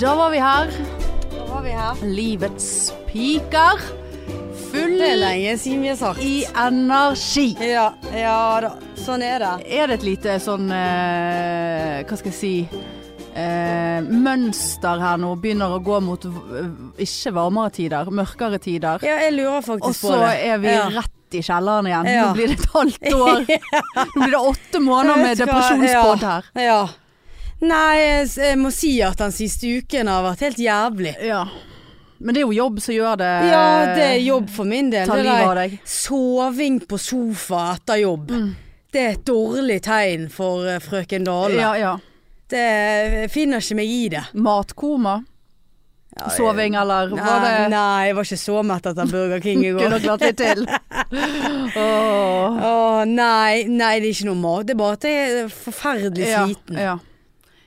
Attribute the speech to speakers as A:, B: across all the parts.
A: Da var vi her.
B: Da var vi her.
A: Livets piker. Full
B: Det er lenge siden vi har sagt.
A: i energi.
B: Ja, ja da. Sånn er det.
A: Er det et lite sånn eh, Hva skal jeg si eh, Mønster her nå. Begynner å gå mot v- ikke varmere tider, mørkere tider.
B: Ja, jeg lurer faktisk
A: Og så
B: på det.
A: er vi
B: ja.
A: rett i kjelleren igjen.
B: Ja.
A: Nå blir det et halvt år. Nå blir det åtte måneder med
B: Jeg vet hva-
A: depresjonspod her.
B: Ja. ja. Nei, jeg s- jeg må si at den siste uken har vært helt jævlig.
A: Ja. Men det er jo jobb som gjør det
B: Ja, det er jobb for min del.
A: Ta
B: det
A: livet
B: der
A: av deg.
B: Soving på sofa etter jobb. Det er et dårlig tegn for eh, frøken Dale.
A: Ja, ja.
B: Det jeg finner ikke meg i det.
A: Matkoma? Soving, eller var
B: Nei,
A: det
B: nei, jeg var ikke så mett etter Burger King i går.
A: Kunne klart litt til. Åh.
B: Åh, nei, nei, det er ikke noe mat. Det er bare at jeg er forferdelig
A: Ja,
B: sliten.
A: ja.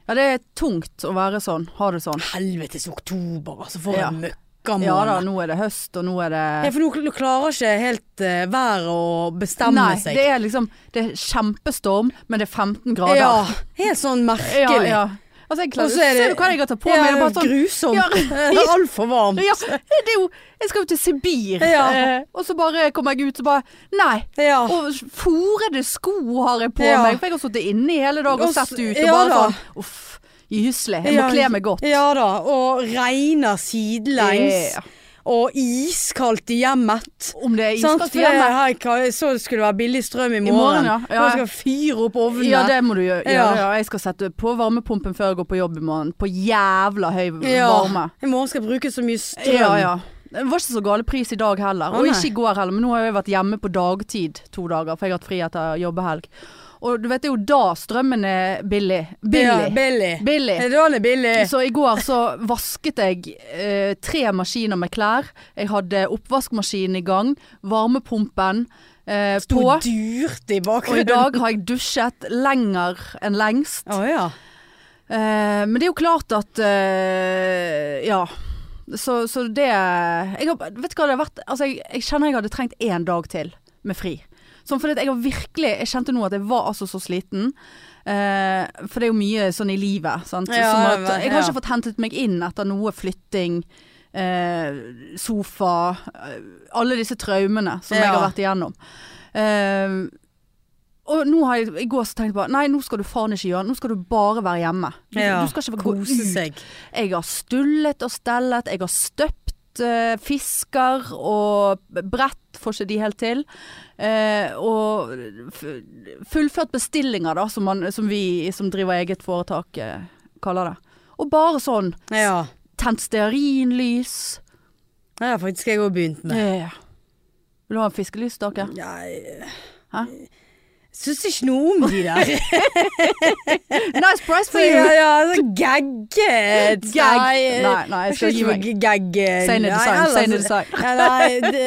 A: ja, det er tungt å være sånn. Ha det sånn.
B: Helvetes oktober, altså. For
A: Ja.
B: en
A: Ja da,
B: møkkamåned.
A: nå er det høst, og nå er
B: Ja,
A: det
B: for nå kl- klarer ikke helt uh, været å bestemme
A: Nei,
B: seg.
A: det er liksom Det er kjempestorm, men det er 15 grader.
B: ja, helt sånn merkelig.
A: ja, ja. Altså, jeg
B: Og
A: klarer,
B: så er det-
A: Ser du hva jeg har tatt på
B: Ja,
A: meg? Det er bare sånn Ja.
B: Grusomt. Det er Altfor varmt.
A: ja, det er jo Jeg skal jo til Sibir,
B: Ja.
A: eh, og så bare kommer jeg ut og bare Nei.
B: Ja.
A: Og forede sko har jeg på
B: Ja.
A: meg, for jeg har sittet inne i hele dag og
B: Og s-
A: sett ut. Og
B: ja
A: bare
B: da.
A: sånn Uff, gyselig. Jeg må
B: Ja,
A: kle meg godt.
B: Ja da. Og regner sidelengs.
A: Ja.
B: Og iskaldt i hjemmet.
A: Eh, Om det er
B: Sant,
A: iskaldt
B: for
A: i
B: Sånn jeg,
A: hjemmet.
B: her, kan- jeg så det skulle være billig strøm i morgen.
A: morgen, ja. Ja.
B: Folk skal fyre opp ovnene.
A: Ja, det må du gjøre.
B: Ja.
A: gjøre, Ja. Jeg skal sette på varmepumpen før jeg går på jobb i morgen. På jævla høy
B: Ja,
A: varme.
B: I morgen skal jeg bruke så mye strøm.
A: Ja, ja. Det var ikke så gale pris i dag heller,
B: Å,
A: og
B: nei.
A: ikke i går heller. Men nå har jeg vært hjemme på dagtid to dager, for jeg har hatt fri etter jobbehelg. Og du vet, det er jo da strømmen er billig.
B: Ja,
A: Billig.
B: billig.
A: Billig.
B: Ja, Den er billig.
A: Så i går så vasket jeg eh, tre maskiner med klær. Jeg hadde oppvaskmaskinen i gang, varmepumpen eh,
B: Sto
A: på.
B: dyrt i
A: Og i
B: bakgrunnen.
A: dag har jeg dusjet lenger enn lengst.
B: Å ja.
A: Eh, men det er jo klart at eh, Ja. Så, så det jeg har, Vet du hva det har vært? Altså, jeg, jeg kjenner jeg hadde trengt én dag til med fri. Sånn fordi at jeg har virkelig Jeg kjente nå at jeg var altså så sliten. Eh, for det er jo mye sånn i livet. Sant?
B: Ja,
A: Som at,
B: det var-
A: jeg har
B: ja.
A: ikke fått hentet meg inn etter noe flytting, eh, sofa eh, Alle disse traumene som jeg har
B: Ja.
A: vært igjennom. Eh, og nå har jeg i går så tenkte jeg bare Nei, nå skal du faen ikke gjøre Nå skal du bare være hjemme. Du,
B: Ja,
A: du skal ikke gå ut.
B: Kose seg.
A: Jeg har stullet og stellet. Jeg har støpt eh, fisker og brett, får ikke de helt til. Eh, og f- fullført bestillinger, da, som, man, som vi som driver eget foretak eh, kaller det. Og bare sånn.
B: Ja.
A: Tent stearinlys.
B: Det har faktisk jeg òg begynt med.
A: Eh, Vil du ha en fiskelysstake?
B: Jeg
A: Hæ?
B: syns ikke noe om de der.
A: Nice price
B: Så
A: for you!
B: ja, ja, så gagget.
A: Gag. Nei, nei, jeg skal
B: jeg skal
A: gi meg.
B: ikke gagge.
A: Sein i design, sein i design.
B: Ja, nei, det,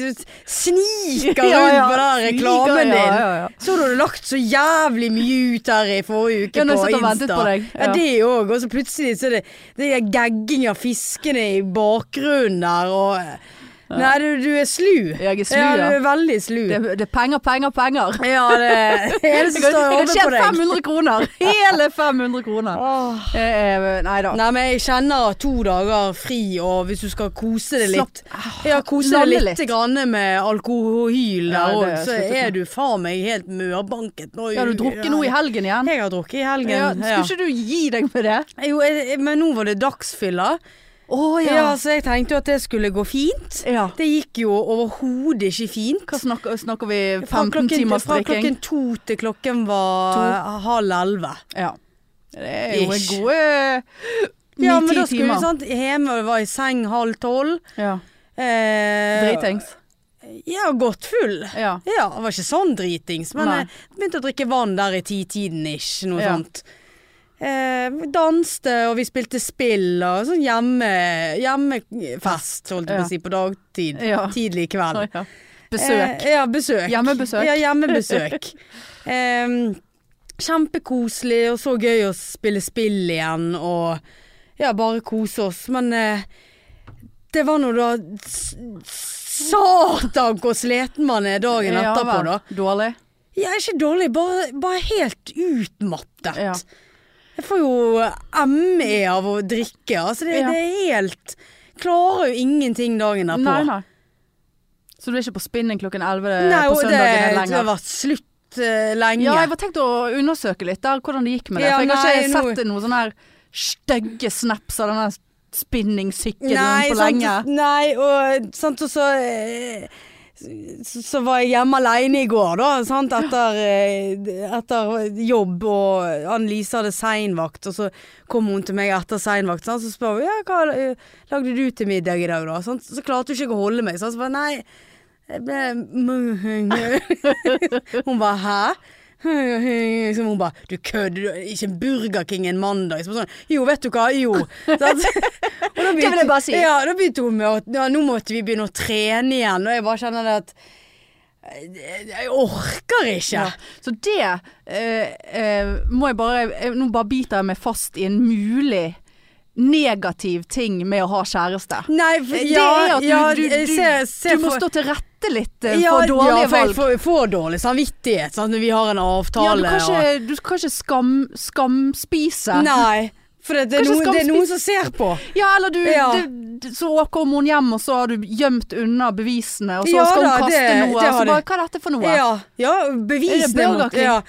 B: du sniker
A: Ja,
B: rundt
A: ja.
B: på den reklamen
A: Sniker,
B: din.
A: ja, ja, ja.
B: Så du hadde lagt så jævlig mye ut her i forrige uke
A: Ja,
B: på
A: når jeg satt
B: Insta.
A: og ventet på deg.
B: Ja,
A: Ja.
B: det òg. Og så plutselig så er det, det er gagging av fiskene i bakgrunnen der og Nei, du, du er slu.
A: Jeg er slu,
B: ja.
A: ja.
B: Du er veldig slu.
A: Det, det er penger, penger, penger.
B: Ja, det det er det som
A: Jeg
B: står
A: har
B: over på
A: tjent
B: deg.
A: 500 kroner. Hele 500 kroner.
B: Åh.
A: Eh, nei da.
B: Nei, men jeg kjenner at to dager fri, og hvis du skal kose deg litt
A: Ah,
B: Ja, kose deg
A: Lande
B: litt, Grann med alkohol
A: Ja, det
B: der òg,
A: har jeg
B: så
A: sluttet
B: er du faen meg helt mørbanket nå.
A: Ja, du drukket noe i helgen igjen?
B: Jeg har drukket i helgen.
A: Ja, skulle
B: Ja,
A: ikke du gi deg med det?
B: Jo, jeg, jeg- men nå var det dagsfylla.
A: Å
B: Ja. så jeg tenkte jo at det skulle gå fint.
A: Ja.
B: Det gikk jo overhodet ikke fint.
A: Hva snakker, snakker vi?
B: Fra
A: 15
B: klokken,
A: timers
B: fra
A: drikking?
B: klokken to til klokken var halv elleve.
A: Ja. Det er jo en
B: Ish.
A: gode
B: Ja, men
A: ni-ti
B: da skulle vi sånn-
A: timer.
B: sant, hjemme og var i seng halv tolv.
A: Ja.
B: Eh,
A: Dritings.
B: Ja, godt full.
A: Ja.
B: Ja, det var ikke sånn dritings, men eh,
A: Nei.
B: jeg begynte å drikke vann der i titiden ish, noe
A: Ja.
B: sånt. Eh, vi danste, og vi spilte spill, og sånn hjemme, hjemmefest, holdt jeg
A: Ja.
B: på å si, på dagtid.
A: Ja.
B: Tidlig kveld.
A: Ja. Besøk.
B: Eh, ja, besøk.
A: Hjemmebesøk.
B: Ja, hjemmebesøk. Em, kjempekoselig, og så gøy å spille spill igjen, og ja, bare kose oss. Men eh, det var nå da s- Satan hvor sliten man er dagen
A: Ja,
B: etterpå,
A: vel.
B: da.
A: Dårlig.
B: Jeg er ikke dårlig, bare, bare helt utmattet.
A: Ja.
B: Jeg får jo ME av å drikke. Altså det,
A: Ja.
B: det er helt Klarer jo ingenting dagen derpå.
A: Nei, nei. Så du er ikke på spinning klokken 11
B: Nei,
A: på
B: og det,
A: søndagen
B: det har
A: lenger?
B: vært slutt eh, lenge.
A: Ja, jeg var tenkt å undersøke litt der, hvordan det gikk med det.
B: Ja,
A: for jeg har ikke
B: nei, nå-
A: sett noen sånne her stygge snaps av denne spinningsykkelen
B: Nei, sånn
A: på
B: sant,
A: lenge.
B: nei, og, sant, og så, eh, så Så var jeg hjemme alene i går, da. Sant, etter, eh, etter jobb, og Anne-Lise hadde seinvakt. Og så kom hun til meg etter seinvakt, sant, så spør hun ja, hva eh, lagde du til middag i dag, da. Sant, så klarte hun ikke å holde meg. Sant, så bare nei jeg ble Hun bare hæ? Så hun bare du kødder, du- ikke en Burger King en mandag. Så bare sånn, jo, vet du hva, jo. Sant? Og da
A: Det vil jeg bare si.
B: Ja, da begynte hun med at ja, nå måtte vi begynne å trene igjen, og jeg bare kjenner det at eh, jeg orker ikke.
A: Ja. Så det eh, eh, må jeg bare eh, Nå bare biter jeg meg fast i en mulig negativ ting med å ha kjæreste.
B: Nei, for,
A: Eh,
B: ja,
A: det er at du,
B: ja,
A: du, du,
B: jeg ser- ser
A: du må
B: for-
A: stå til rette litt eh,
B: ja,
A: for dårlige
B: ja, for jeg
A: valg.
B: får- jeg får dårlig samvittighet sant, når vi har en
A: Ja,
B: avtale.
A: du kan
B: og-
A: ikke, du kan ikke skam, skamspise.
B: Nei, for det, det, er
A: Kanskje
B: noen, det er
A: skamspist-
B: noen som ser på.
A: Ja, eller du,
B: Ja.
A: du- du Så kommer hun hjem, og så har du gjemt unna bevisene, og så
B: Ja
A: skal hun
B: da,
A: kaste
B: det-
A: noe.
B: det
A: og
B: har
A: så
B: du.
A: bare Hva er dette for noe?
B: Ja, ja bevisene
A: Er det Burger
B: måtte-
A: King?
B: Ja.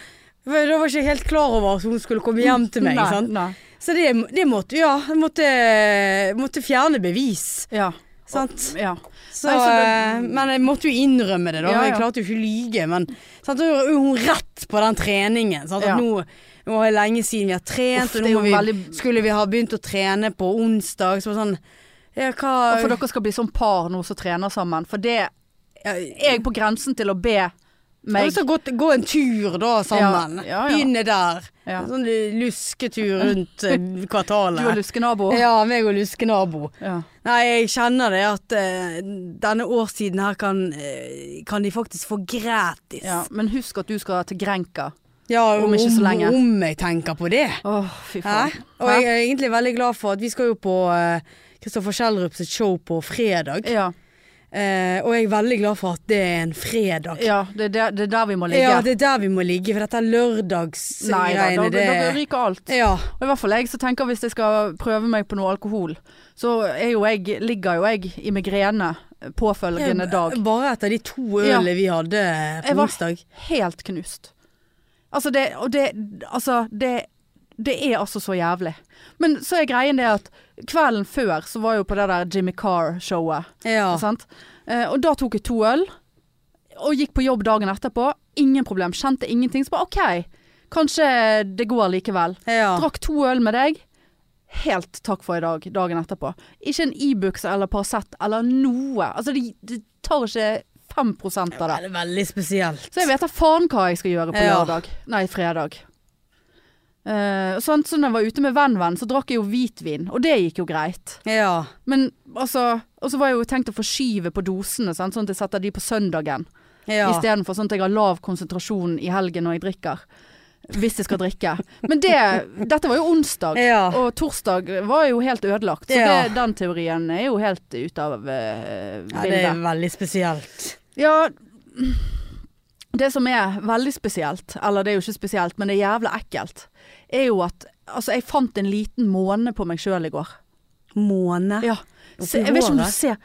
B: For Da var ikke jeg helt klar over at hun skulle komme hjem til meg.
A: Nei,
B: sant?
A: nei.
B: Så det, det måtte Ja, jeg måtte, måtte fjerne bevis.
A: Ja.
B: Sant?
A: ja.
B: Så,
A: Nei, så
B: eh, men jeg måtte jo innrømme det,
A: Ja,
B: da.
A: ja.
B: Jeg klarte jo ikke å lyge. Men sant? da gjorde hun rett på den treningen. Sant? At
A: Ja.
B: nå, nå er det lenge siden vi har trent,
A: Uff, det
B: og
A: er
B: nå
A: jo
B: må vi,
A: veldig-
B: skulle vi ha begynt å trene på onsdag. Så var det sånn ja, hva,
A: Og for dere skal bli sånn par nå som trener sammen. For det
B: ja,
A: er jeg på grensen til å be
B: Og
A: meg
B: så gå, gå en tur da sammen.
A: Ja, ja, ja.
B: Begynne der.
A: Ja.
B: En Sånn lusketur rundt eh,
A: Du og
B: kvartalet.
A: luskenabo.
B: Ja, meg og luskenabo.
A: Ja.
B: Nei, jeg kjenner det at eh, denne årstiden her kan, eh, kan de faktisk få gratis.
A: Ja. Men husk at du skal til Grenka.
B: Ja,
A: Om ikke så lenge.
B: Om jeg tenker på det.
A: Åh, fy
B: Hæ?
A: faen.
B: Og jeg er egentlig veldig glad for at vi skal jo på Kristoffer Schjelderup sitt show på fredag.
A: Ja,
B: Eh, og jeg er veldig glad for at det er en fredag.
A: ja det, er der, det er der vi må ligge.
B: Ja, det er der vi må ligge, for dette
A: Nei da, da,
B: lørdagsgreiene
A: da,
B: det
A: da ryker alt.
B: Ja.
A: Og i hvert fall jeg som tenker hvis jeg skal prøve meg på noe alkohol, så er jo jeg, ligger jo jeg i migrene påfølgende dag.
B: Bare etter de to
A: Ja.
B: ølene vi hadde på
A: Jeg var-
B: onsdag.
A: Helt knust. Altså det, og det, altså det det er altså så jævlig. Men så er greien det at kvelden før så var jeg jo på det der Jimmy Carr-showet.
B: Ja.
A: Sant? Eh, og da tok jeg to øl, og gikk på jobb dagen etterpå. Ingen problem, kjente ingenting. Så bare OK, kanskje det går likevel.
B: ja.
A: Drakk to øl med deg. Helt takk for i dag, dagen etterpå. Ikke en Ibux eller Paracet eller noe. Altså, det, det tar ikke 5 av det.
B: Veldig, veldig spesielt.
A: Så jeg vet da faen hva jeg skal gjøre på
B: Ja.
A: lørdag. Nei, fredag. Eh, sånn, så når jeg var ute med venn-venn, så drakk jeg jo hvitvin, og det gikk jo greit.
B: Ja.
A: Men altså Og så var jeg jo tenkt å forskyve på dosene, sant? sånn at jeg setter de på søndagen.
B: ja.
A: Istedenfor sånn at jeg har lav konsentrasjon i helgen når jeg drikker. Hvis jeg skal drikke. Men det Dette var jo onsdag.
B: Ja.
A: Og torsdag var jo helt ødelagt. Så
B: Ja.
A: det, den teorien er jo helt ute av eh,
B: ja, det er
A: bildet.
B: veldig spesielt.
A: Ja, det som er veldig spesielt, eller det er jo ikke spesielt, men det er jævla ekkelt, er jo at altså, jeg fant en liten måne på meg sjøl i går.
B: Måne.
A: Ja. Se, jeg vet ikke om du ser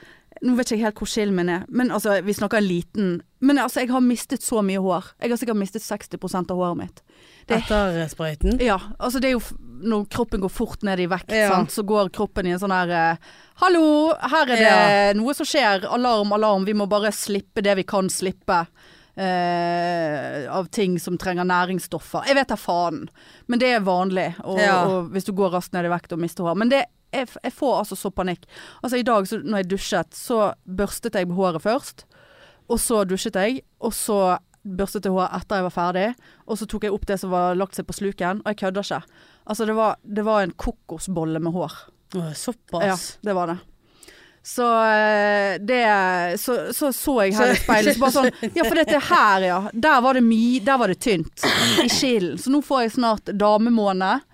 A: Nå vet ikke jeg helt hvor skillen min er, men altså, vi snakker en liten Men altså, jeg har mistet så mye hår. Jeg har sikkert mistet 60 av håret mitt. det-
B: Etter eh, sprøyten.
A: Ja, altså det er jo f- når kroppen går fort ned i vekt,
B: Ja.
A: sant, så går kroppen i en sånn her eh, Hallo, her er det Eh, noe som skjer. Alarm, alarm. Vi må bare slippe det vi kan slippe. eh, av ting som trenger næringsstoffer. Jeg vet da faen, men det er vanlig. Og,
B: Ja.
A: og hvis du går raskt ned i vekt og mister hår. Men det, jeg, f- jeg får altså så panikk. Altså i dag så, når jeg dusjet, så børstet jeg håret først. Og så dusjet jeg, og så børstet jeg håret etter jeg var ferdig. Og så tok jeg opp det som var lagt seg på sluken, og jeg kødder ikke. Altså, det var, det var en kokosbolle med hår.
B: Å,
A: Ja,
B: Såpass.
A: det var det. Så eh, det Så så, så jeg her i speilet, så bare sånn Ja, for dette her, ja. Der var det mye Der var det tynt. I skillen. Så nå får jeg snart damemåned.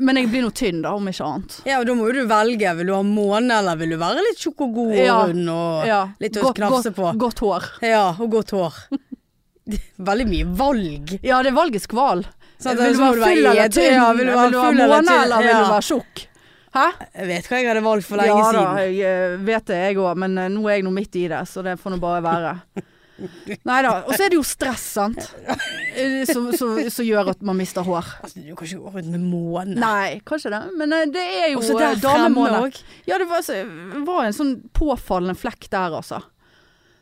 A: Men jeg blir nå tynn, da, om ikke annet.
B: Ja, og da må jo du velge. Vil du ha måne, eller vil du være litt tjukk og god
A: Ja.
B: og rund og
A: Ja.
B: litt å
A: Godt-
B: knafse på?
A: godt- Godt hår.
B: Ja, og godt hår. Veldig mye valg.
A: Ja, det er valgets kval.
B: Sant?
A: Vil du
B: Sånn, Så må
A: være full eller
B: edru.
A: tynn?
B: Ja, vil du være full eller
A: måne,
B: tynn?
A: eller vil
B: Ja.
A: du være tjukk? Hæ?
B: Jeg vet hva jeg hadde valgt for lenge
A: ja,
B: siden.
A: da, jeg eh, vet det jeg òg, men eh, nå er jeg nå midt i det, så det får nå bare være. Nei da. Og så er det jo stress, sant. Eh, Som som- som gjør at man mister hår.
B: Altså, du kan ikke gå rundt med måne.
A: Nei, kanskje det, men eh, det er jo
B: Og så
A: eh,
B: der fremme
A: damemåned.
B: òg.
A: Ja, det var, så- var en sånn påfallende flekk der, altså.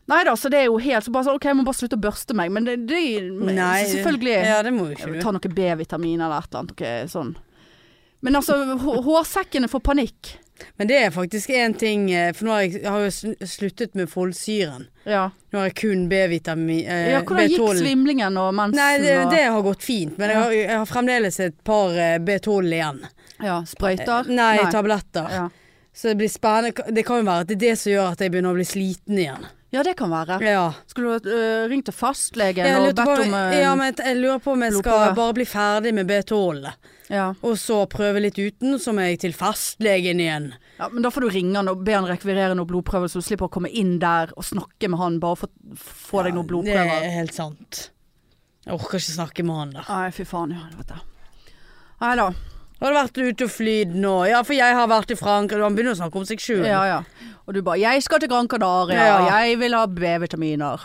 A: Nei da, så det er jo helt så bare sånn OK, jeg må bare slutte å børste meg, men det, det men
B: Nei.
A: Selvfølgelig.
B: Ja, det må jo ikke
A: Jeg vil
B: du.
A: ta noe B-vitamin eller et eller annet. noe sånn. Men altså, hå- hårsekkene får panikk.
B: Men det er faktisk én ting, eh, for nå har jeg, jeg har jo sl- sluttet med folsyren.
A: Ja,
B: Nå har jeg kun B-vitamin eh,
A: ja Hvordan gikk
B: B12.
A: svimlingen og mensen?
B: Nei, det,
A: og-
B: det har gått fint, men jeg har, jeg har fremdeles et par eh, B12 igjen.
A: ja, sprøyter?
B: Nei, tabletter.
A: ja.
B: Så det blir spennende. Det kan jo være at det er det som gjør at jeg begynner å bli sliten igjen.
A: ja, det kan være.
B: Ja.
A: Skulle du øh, ringt til fastlegen
B: Jeg,
A: og
B: lurte på,
A: bedt om øh,
B: ja, men jeg lurer på om jeg skal
A: blodprøve.
B: bare bli ferdig med B12.
A: ja.
B: Og så prøve litt uten, så må jeg til fastlegen igjen.
A: ja, Men da får du ringe han og be han rekvirere noen blodprøver, så du slipper å komme inn der og snakke med han bare for å få deg noen
B: Det er
A: blodprøver.
B: helt sant. Jeg orker ikke snakke med han der.
A: Nei, fy faen i helvete. Nei da.
B: Har du vært ute og flydd nå? Ja, for jeg har vært i Frankrike. Han begynner å snakke om seg sjøl.
A: Ja, ja. Og du bare 'Jeg skal til Gran Canaria,
B: Ja.
A: jeg vil ha B-vitaminer'.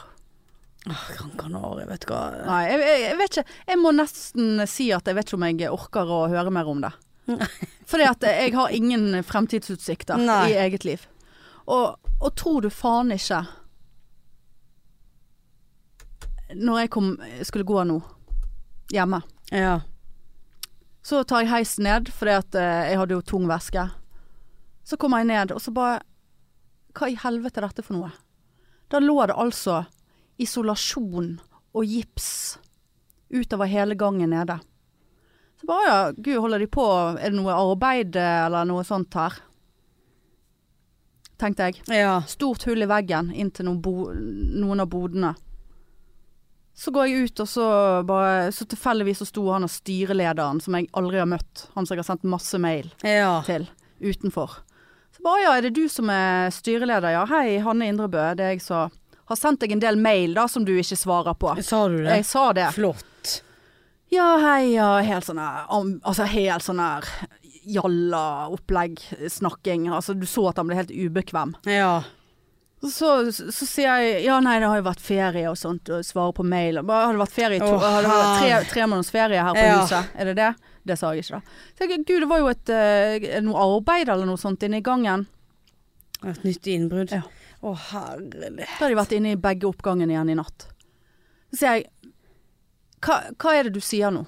B: Åh, Gran Canaria, vet du hva.
A: Nei, jeg, jeg, jeg vet ikke. Jeg må nesten si at jeg vet ikke om jeg orker å høre mer om det. Fordi at jeg har ingen fremtidsutsikter
B: Nei.
A: i eget liv. Og, og tror du faen ikke Når jeg kom, skulle gå nå, hjemme,
B: Ja.
A: så tar jeg heisen ned, fordi at eh, jeg hadde jo tung væske. Så kommer jeg ned, og så bare Hva i helvete er dette for noe? Da lå det altså isolasjon og gips utover hele gangen nede. Så bare ja, gud, holder de på? Er det noe arbeid eh, eller noe sånt her? Tenkte jeg.
B: ja.
A: Stort hull i veggen inn til noen, bo, noen av bodene. Så går jeg ut, og så bare Så tilfeldigvis så sto han og styrelederen, som jeg aldri har møtt, han som jeg har sendt masse mail
B: Ja.
A: til, utenfor. Så bare ja, er det du som er styreleder? Ja, hei, Hanne Indrebø, det er jeg som har sendt deg en del mail, da, som du ikke svarer på.
B: Sa du det?
A: Jeg sa det.
B: Flott.
A: Ja, hei, ja, helt sånn her am- Altså helt sånn her jalla opplegg, snakking. Altså du så at han ble helt ubekvem.
B: Ja.
A: Så, så, så sier jeg ja nei det har jo vært ferie og sånt, og svarer på mail. Og Bare, har det vært ferie i to,
B: Å,
A: har det vært tre, tre måneders ferie her på
B: Ja.
A: huset? Er det det? Det sa jeg ikke da. Så jeg, Gud, det var jo et, eh, noe arbeid eller noe sånt inne i gangen.
B: Et nytt innbrudd.
A: Ja.
B: Å, herlig.
A: Da har de vært inne i begge oppgangene igjen i natt. Så sier jeg hva, hva er det du sier nå?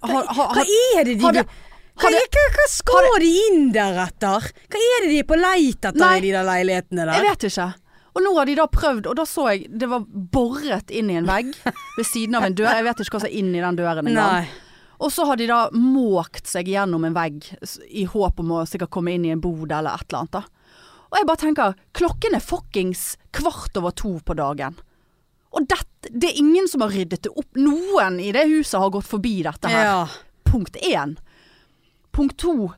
A: Har, har,
B: Hva
A: har,
B: er det de
A: har det-
B: hva,
A: har det-
B: hva, hva skal de inn der etter? Hva er det de er på leit etter
A: Nei.
B: i de der leilighetene
A: Jeg
B: der?
A: vet ikke. Og nå har de da prøvd, og da så jeg det var boret inn i en vegg ved siden av en dør. Jeg vet ikke hva som er inn i den døren engang.
B: Nei.
A: Og så har de da måkt seg gjennom en vegg s- i håp om å sikkert komme inn i en bod eller et eller annet. da. Og jeg bare tenker, klokken er fuckings kvart over to på dagen. Og dette, det er ingen som har ryddet det opp. Noen i det huset har gått forbi dette her.
B: Ja.
A: Punkt én. Punkt to.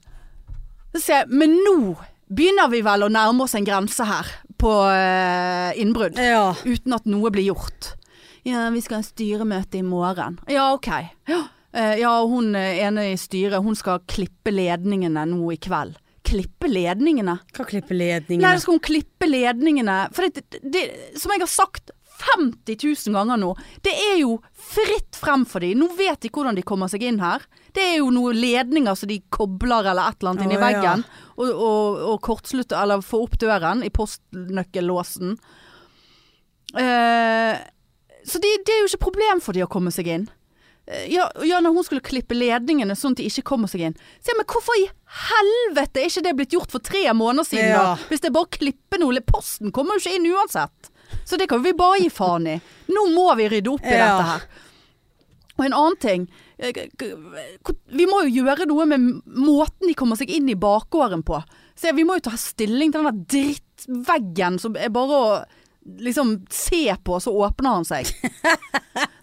A: Så sier jeg, men nå begynner vi vel å nærme oss en grense her på eh, innbrudd
B: ja.
A: uten at noe blir gjort. Ja, vi skal ha styremøte i morgen. Ja, ok. Ja, eh, ja og hun eh, ene i styret, hun skal klippe ledningene nå i kveld. Klippe ledningene?
B: Hva klipper
A: Nei,
B: ledningene?
A: skal hun klippe ledningene? For det, det, det, som jeg har sagt 50 000 ganger nå, det er jo fritt frem for dem. Nå vet de hvordan de kommer seg inn her. Det er jo noen ledninger som de kobler eller et eller annet inn i
B: Å, ja.
A: veggen. Og, og, og kortslutter, eller får opp døren i postnøkkellåsen. Eh, så det, det er jo ikke problem for de å komme seg inn. Eh, Ja, ja, når hun skulle klippe ledningene sånn at de ikke kommer seg inn. Så jeg, men hvorfor i helvete er ikke det blitt gjort for tre måneder siden
B: Ja.
A: da? Hvis det er bare å klippe noe, posten kommer jo ikke inn uansett. Så det kan vi bare gi faen i. Nå må vi rydde opp i
B: Ja.
A: dette her. Og en annen ting. eh, k- k- Vi må jo gjøre noe med måten de kommer seg inn i bakgården på. Så jeg- vi må jo ta stilling til den der drittveggen som er bare å liksom se på, så åpner han seg.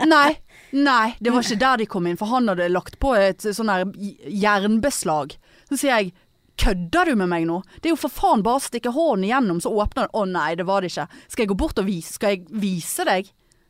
A: Nei. Nei, det var ikke der de kom inn, for han hadde lagt på et sånn her jernbeslag. Så sier jeg Kødder du med meg nå? Det er jo for faen bare å stikke hånden igjennom, så åpner den. Å nei, det var det ikke. Skal jeg gå bort og vise? Skal jeg vise deg?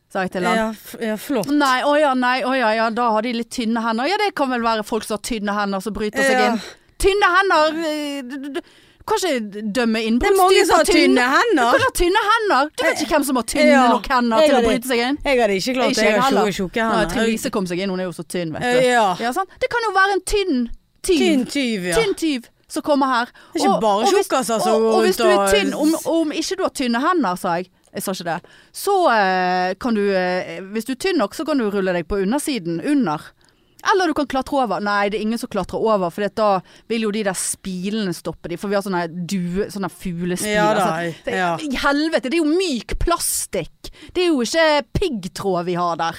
A: sa jeg til han.
B: Ja, f ja, flott.
A: Nei, å ja, nei, å ja, ja, da har de litt tynne hender. Ja, det kan vel være folk som har tynne hender som bryter seg
B: Ja.
A: inn. Tynne hender! eh, Du, du, du kan ikke dømme
B: Det er
A: innbruddstyver
B: mange som har
A: på
B: tynne
A: Du
B: hender.
A: kan ha tynne hender! Du vet ikke hvem som har tynne
B: Ja,
A: nok hender
B: jeg
A: til å
B: hadde-
A: bryte seg inn.
B: Jeg hadde ikke klart
A: Ikke
B: det. Jeg
A: jeg
B: har
A: heller.
B: tjukke, tjukke
A: Nei,
B: hender.
A: Trine Lise kom seg inn, hun er jo så tynn, vet
B: Eh,
A: du.
B: Ja.
A: Ja, sant? Det kan jo være en tynn tyv.
B: Tynn tyv, ja.
A: Tynn tyv som kommer her.
B: Det er ikke bare
A: hvis-
B: tjukkaser som
A: og-
B: går
A: og hvis
B: rundt
A: du er
B: og-
A: tynn, om, om ikke du har tynne hender, sa jeg. Jeg sa ikke det. Så eh, kan du eh, Hvis du er tynn nok, så kan du rulle deg på undersiden. Under. Eller du kan klatre over. Nei, det er ingen som klatrer over, for da vil jo de der spilene stoppe de. For vi har sånne, due, sånne fuglespiler.
B: Ja da,
A: sant? Det-
B: ja.
A: I helvete, det er jo myk plastikk. Det er jo ikke piggtråd vi har der.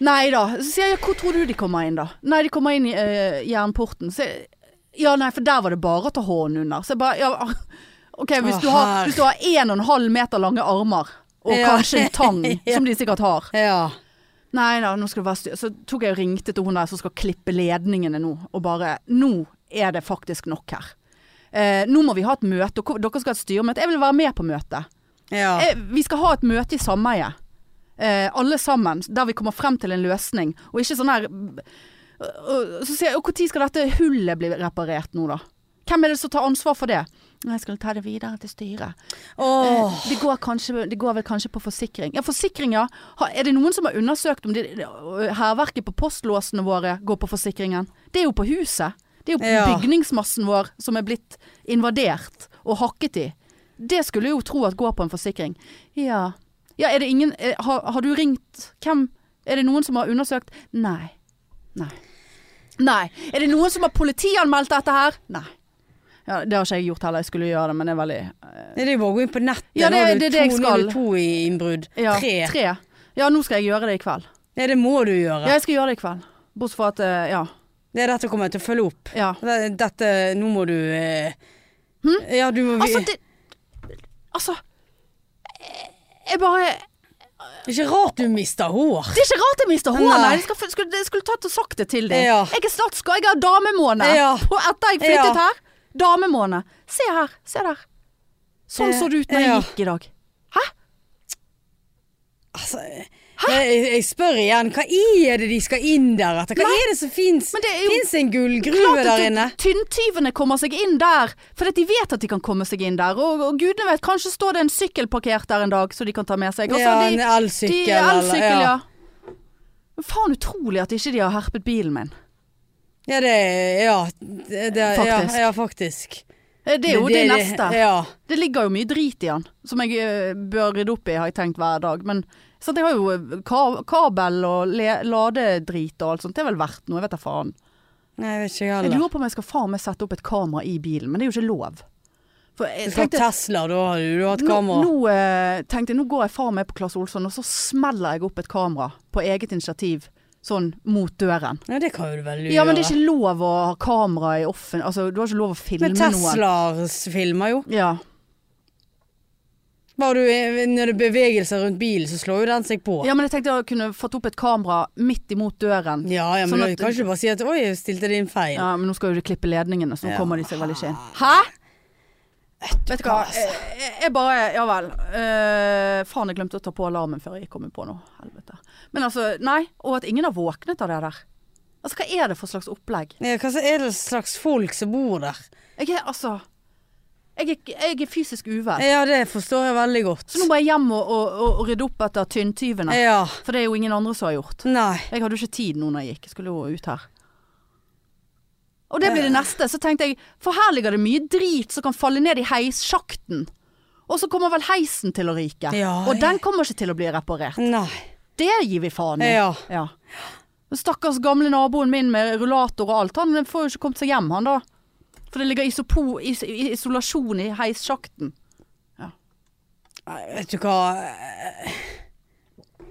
A: Nei da. Så sier jeg ja, hvor tror du de kommer inn, da? Nei, de kommer inn i eh, jernporten. Så jeg, ja, nei, for der var det bare å ta hånden under. Så jeg bare ja, OK, hvis
B: Å,
A: du har-
B: herre.
A: hvis du har 1,5 meter lange armer, og
B: Ja.
A: kanskje en tang, som de sikkert har.
B: ja.
A: Nei da, nå skal det være styr. Så tok jeg og ringte til hun der som skal klippe ledningene nå, og bare Nå er det faktisk nok her. Eh, nå må vi ha et møte, og hvor- dere skal ha et styremøte. Jeg vil være med på møtet.
B: ja.
A: Eh, vi skal ha et møte i sameiet. Eh, alle sammen. Der vi kommer frem til en løsning. Og ikke sånn her og, Så sier jeg Når skal dette hullet bli reparert nå, da? Hvem er det som tar ansvar for det? Nei, Jeg skal ta det videre til styret.
B: Åh.
A: Eh, Det går, kanskje, det går vel kanskje på forsikring. Ja, forsikring, ja. Ha- Er det noen som har undersøkt om de- hærverket på postlåsene våre går på forsikringen? Det er jo på huset. Det er jo
B: Ja.
A: bygningsmassen vår som er blitt invadert og hakket i. Det skulle jeg jo tro at går på en forsikring. Ja. Ja, er det ingen eh, Har, har du ringt Hvem? Er det noen som har undersøkt? Nei. Nei. Nei. Er det noen som har politianmeldt dette her? Nei. Ja, det har ikke jeg gjort heller. Jeg skulle gjøre det, men det er veldig
B: Det er jo bare å gå inn på nettet.
A: eh. Ja, det-
B: Nå har du
A: det er det jeg
B: to- nå har du
A: skal.
B: To i innbrudd.
A: ja,
B: Tre.
A: tre. Ja, nå skal jeg gjøre det i kveld.
B: Ja, det må du
A: Ja,
B: gjøre.
A: jeg skal gjøre det i kveld. Bortsett fra at eh, ja.
B: Det er dette kommer jeg til å følge opp.
A: ja.
B: Det- Dette Nå må du eh, Ja, du må vi-
A: Altså, det Altså jeg bare
B: Det er ikke rart du mister hår.
A: Det er ikke rart jeg mister hår,
B: Nei.
A: nei. Jeg skulle, skulle, jeg skulle tatt og sagt det til dem.
B: Ja.
A: Jeg er snart skal jeg ha damemåned.
B: Ja.
A: Og etter jeg flyttet
B: Ja.
A: her, damemåned. Se her, se der. Sånn
B: Eh,
A: så det ut når
B: ja.
A: jeg gikk i dag.
B: Altså, jeg, jeg spør igjen, hva er det de skal inn der etter? Hva er det som fins?
A: Men det er jo
B: Fins en gullgruve
A: klart
B: der
A: at
B: inne?
A: du- tynntyvene kommer seg inn der, fordi de vet at de kan komme seg inn der. Og, og gudene vet, kanskje står det en sykkel parkert der en dag, så de kan ta med seg. Altså,
B: Ja,
A: de,
B: en elsykkel.
A: De
B: eller-
A: elsykkel, ja. Men Faen utrolig at ikke de har herpet bilen min.
B: Ja, det er ja, det, det,
A: Faktisk.
B: Ja, ja, faktisk.
A: Eh, Det er jo det, neste.
B: Ja.
A: Det ligger jo mye drit i den, som jeg eh, bør rydde opp i, har jeg tenkt hver dag. Men sant, jeg har jo eh, ka kabel og le ladedrit og alt sånt. Det er vel verdt noe, jeg vet da faen.
B: Nei, jeg vet ikke jeg
A: Jeg
B: heller.
A: lurer på om jeg skal faen meg sette opp et kamera i bilen, men det er jo ikke lov. For jeg
B: Du skal ha
A: tenkte
B: Tesla, da har du, du har et
A: nå,
B: kamera.
A: nå eh, tenkte jeg, nå går jeg faen meg på Klasse Olsson, og så smeller jeg opp et kamera på eget initiativ, sånn mot døren.
B: Nei, det kan jo du vel gjøre.
A: Ja, men det er ikke lov å ha kamera i offen... Altså, du har ikke lov å filme
B: Men
A: noen.
B: Teslaer filmer jo.
A: Ja.
B: Bare du, eh, når det er bevegelser rundt bilen, så slår jo den seg på.
A: ja, men jeg tenkte jeg kunne fått opp et kamera midt imot døren.
B: ja, ja, men
A: Sånn
B: du
A: at-
B: kan ikke bare si at 'oi, jeg stilte det inn feil'.
A: Ja, men nå skal jo de klippe ledningene, så nå
B: Ja.
A: kommer de seg vel ikke inn. Hæ? Vet du hva,
B: altså.
A: jeg, jeg bare Ja vel. Eh, faen, jeg glemte å ta på alarmen før jeg kom på nå. Helvete. Men altså, nei. Og at ingen har våknet av det der. Altså, hva er det for slags opplegg?
B: Ja, hva så er det slags folk som bor der?
A: Jeg er altså Jeg er, jeg er fysisk uvel.
B: Ja, det forstår jeg veldig godt.
A: Så nå må jeg hjem og, og, og rydde opp etter tynntyvene.
B: Ja.
A: For det Sånn er jo ingen andre som har gjort.
B: Nei.
A: Jeg hadde jo ikke tid nå når jeg gikk, jeg skulle jo ut her. Og det blir
B: Eh.
A: det neste. Så tenkte jeg, for her ligger det mye drit som kan falle ned i heissjakten. Og så kommer vel heisen til å ryke.
B: Ja,
A: og den kommer ikke til å bli reparert.
B: Nei.
A: Det gir vi faen i.
B: Ja.
A: Ja. Stakkars gamle naboen min med rullator og alt, han får jo ikke kommet seg hjem han da. For det ligger isopo, is, isolasjon i heissjakten.
B: Nei, Vet du hva Jeg,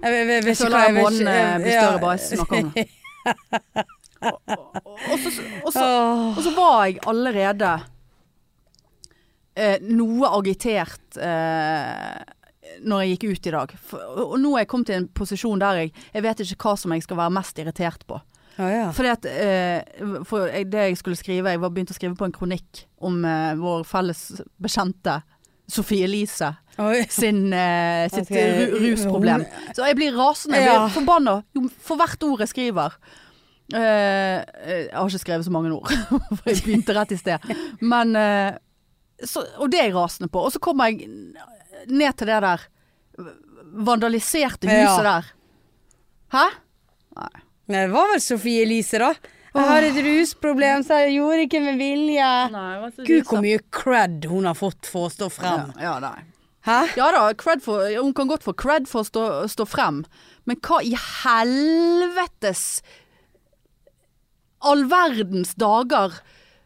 B: jeg, jeg,
A: Jeg
B: vet ikke
A: føler
B: hva
A: at
B: vet ikke- eh,
A: båndene blir
B: ja.
A: større bare jeg snakker om det. Og, og, og, så, og, så,
B: Åh.
A: Og så var jeg allerede eh, noe agitert eh, når jeg gikk ut i dag. For, og nå er jeg kommet i en posisjon der jeg, jeg vet ikke hva som jeg skal være mest irritert på.
B: Ja, ja.
A: Fordi at, eh, for jeg, det jeg skulle skrive, jeg var begynt å skrive på en kronikk om eh, vår felles bekjente Sophie Elise
B: Oi.
A: sin, eh, sitt
B: Ok,
A: ru rusproblem. Så jeg blir rasende. Jeg blir
B: Ja.
A: forbanna jo, for hvert ord jeg skriver. Eh, jeg har ikke skrevet så mange ord, for jeg begynte rett i sted. Men, eh, så, og det er jeg rasende på. Og så kommer jeg ned til det der vandaliserte huset
B: Ja.
A: der. Hæ?
B: Nei, det var vel Sofie Elise, da. Jeg har et rusproblem, så jeg gjorde ikke med vilje. Gud, hvor mye cred hun har fått for å stå
A: ja,
B: frem.
A: ja, nei.
B: Hæ?
A: Ja da, cred for, ja, hun kan godt få cred for å stå, stå frem, men hva i helvetes all verdens dager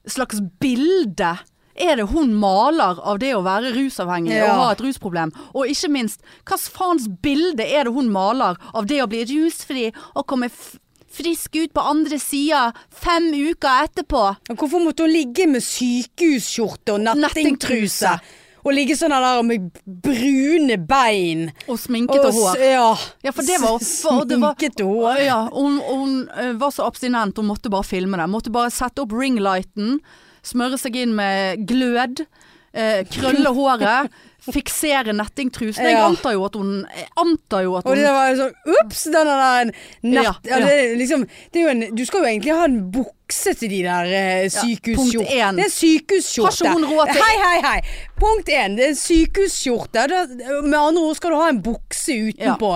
A: slags bilde er det hun maler av det å være rusavhengig og
B: Ja.
A: ha et rusproblem? Og ikke minst, hva faens bilde er det hun maler av det å bli rusfri og komme f frisk ut på andre sida fem uker etterpå?
B: Og hvorfor måtte hun ligge med sykehusskjorte og
A: Nettingtruse.
B: nettingtruse? Og ligge sånn der med brune bein.
A: Og sminket og
B: s-
A: hår.
B: Ja.
A: Ja, for det var for, det var,
B: Sminket hår.
A: Ja, hun, hun eh, var så abstinent, hun måtte bare filme det. Måtte bare sette opp ringlighten, smøre seg inn med glød, eh, krølle håret, fiksere nettingtrusene. Jeg
B: Ja.
A: antar jo at hun, jeg antar jo at
B: Og
A: hun
B: det var jo sånn Ops! Den er der en
A: Ja,
B: nett... Ja,
A: ja.
B: det er liksom, det er jo en, du skal jo egentlig ha en bukse til de der eh,
A: punkt
B: sykehusskjortene.
A: én.
B: det er en sykehusskjorte.
A: Har ikke hun råd til-
B: Hei, hei, hei! Punkt én. Det er en sykehusskjorte. Da- Med andre ord skal du ha en bukse utenpå.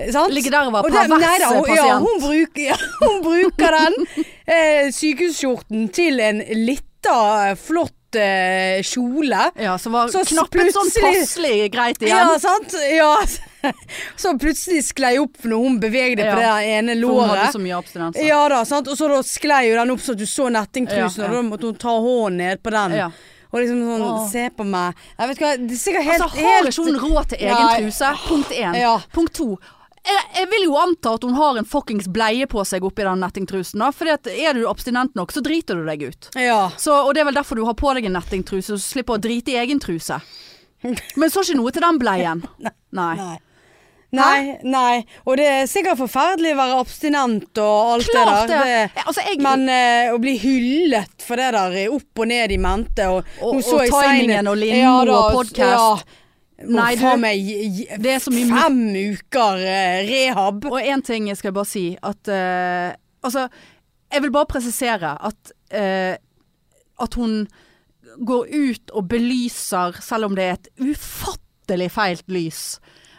B: Eh, Sant?
A: Ligge der og være
B: Og det-
A: pervers
B: nei da, hun- Ja,
A: pasient.
B: hun bruker, ja, hun bruker den eh, sykehusskjorten til en lita, flott eh, kjole.
A: ja, så var
B: Så
A: knappet sånn
B: plutselig-
A: passelig greit igjen.
B: Ja, sant? Ja. Så plutselig sklei opp når hun bevegde på det
A: Ja.
B: der ene
A: for hun hadde
B: låret.
A: så mye abstinenser.
B: Ja da, sant? Og så da sklei jo den opp så at du så
A: Ja,
B: nettingtrusen,
A: ja.
B: og da måtte hun ta hånden ned på den.
A: Ja.
B: Og liksom sånn
A: Åh.
B: Se på meg. Jeg vet ikke hva, det er sikkert helt
A: Altså, har
B: helt-
A: ikke hun råd til egen
B: Nei.
A: truse? Punkt én.
B: Ja.
A: Punkt to. Jeg, jeg vil jo anta at hun har en fuckings bleie på seg oppi den nettingtrusen. da, fordi at er du abstinent nok, så driter du deg ut.
B: Ja.
A: Så, og det er vel derfor du har på deg en nettingtruse, så du slipper å drite i egen truse. Men så ikke noe til den bleien. Nei.
B: Nei. Nei, nei. Og det er sikkert forferdelig å være abstinent og alt
A: Klart
B: det
A: det!
B: der.
A: Jeg- Altså, jeg,
B: Men eh, å bli hyllet for det der eh, opp og ned i mente Og,
A: Og-
B: nå
A: og
B: så jeg
A: timingen
B: senest-
A: og Lindmo og podcast.
B: Ja, må
A: Nei, du-
B: faen meg gi- gi-
A: Det er så mye
B: Fem uker eh, rehab.
A: og én ting skal jeg bare si, at eh, Altså, jeg vil bare presisere at eh, At hun går ut og belyser, selv om det er et ufattelig feilt lys.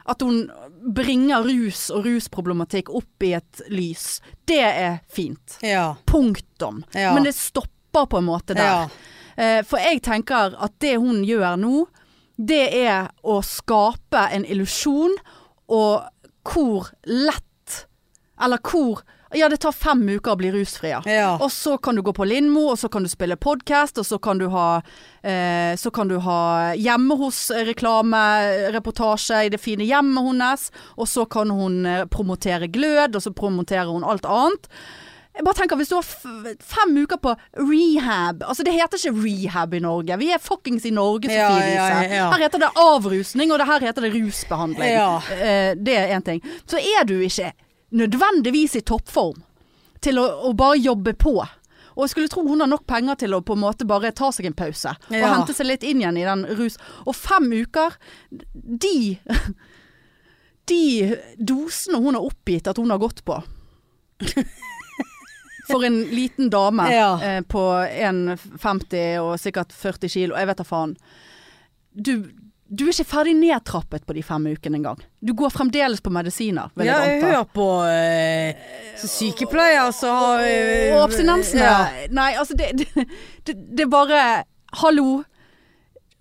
A: At hun bringer rus og rusproblematikk opp i et lys. Det er fint.
B: Ja.
A: Punktum.
B: Ja.
A: Men det stopper på en måte der.
B: Ja.
A: Eh, For jeg tenker at det hun gjør nå, det er å skape en illusjon, og hvor lett Eller hvor Ja, det tar fem uker å bli rusfri, ja.
B: ja.
A: Og så kan du gå på Lindmo, og så kan du spille podkast, og så kan du ha, eh, så kan du ha hjemme hos-reklamereportasje i det fine hjemmet hennes, og så kan hun eh, promotere glød, og så promoterer hun alt annet. Jeg bare tenker, Hvis du har f fem uker på rehab Altså, det heter ikke rehab i Norge. Vi er fuckings i Norge, Sofie
B: Ja,
A: Elise.
B: ja, ja.
A: Her heter det avrusning, og det her heter det rusbehandling.
B: Ja.
A: Eh, det er én ting. Så er du ikke nødvendigvis i toppform til å, å bare jobbe på. Og jeg skulle tro hun har nok penger til å på en måte bare ta seg en pause. Og
B: Ja.
A: hente seg litt inn igjen i den rus. Og fem uker, de De dosene hun har oppgitt at hun har gått på. For en liten dame
B: Ja.
A: eh, på 1,50 og sikkert 40 kilo, jeg vet da faen. Du, du er ikke ferdig nedtrappet på de fem ukene engang. Du går fremdeles på medisiner, vil
B: Ja,
A: jeg anta.
B: hør på eh, så sykepleier som har eh,
A: Og abstinensene.
B: Ja.
A: Nei, altså det, det, det, det er bare Hallo.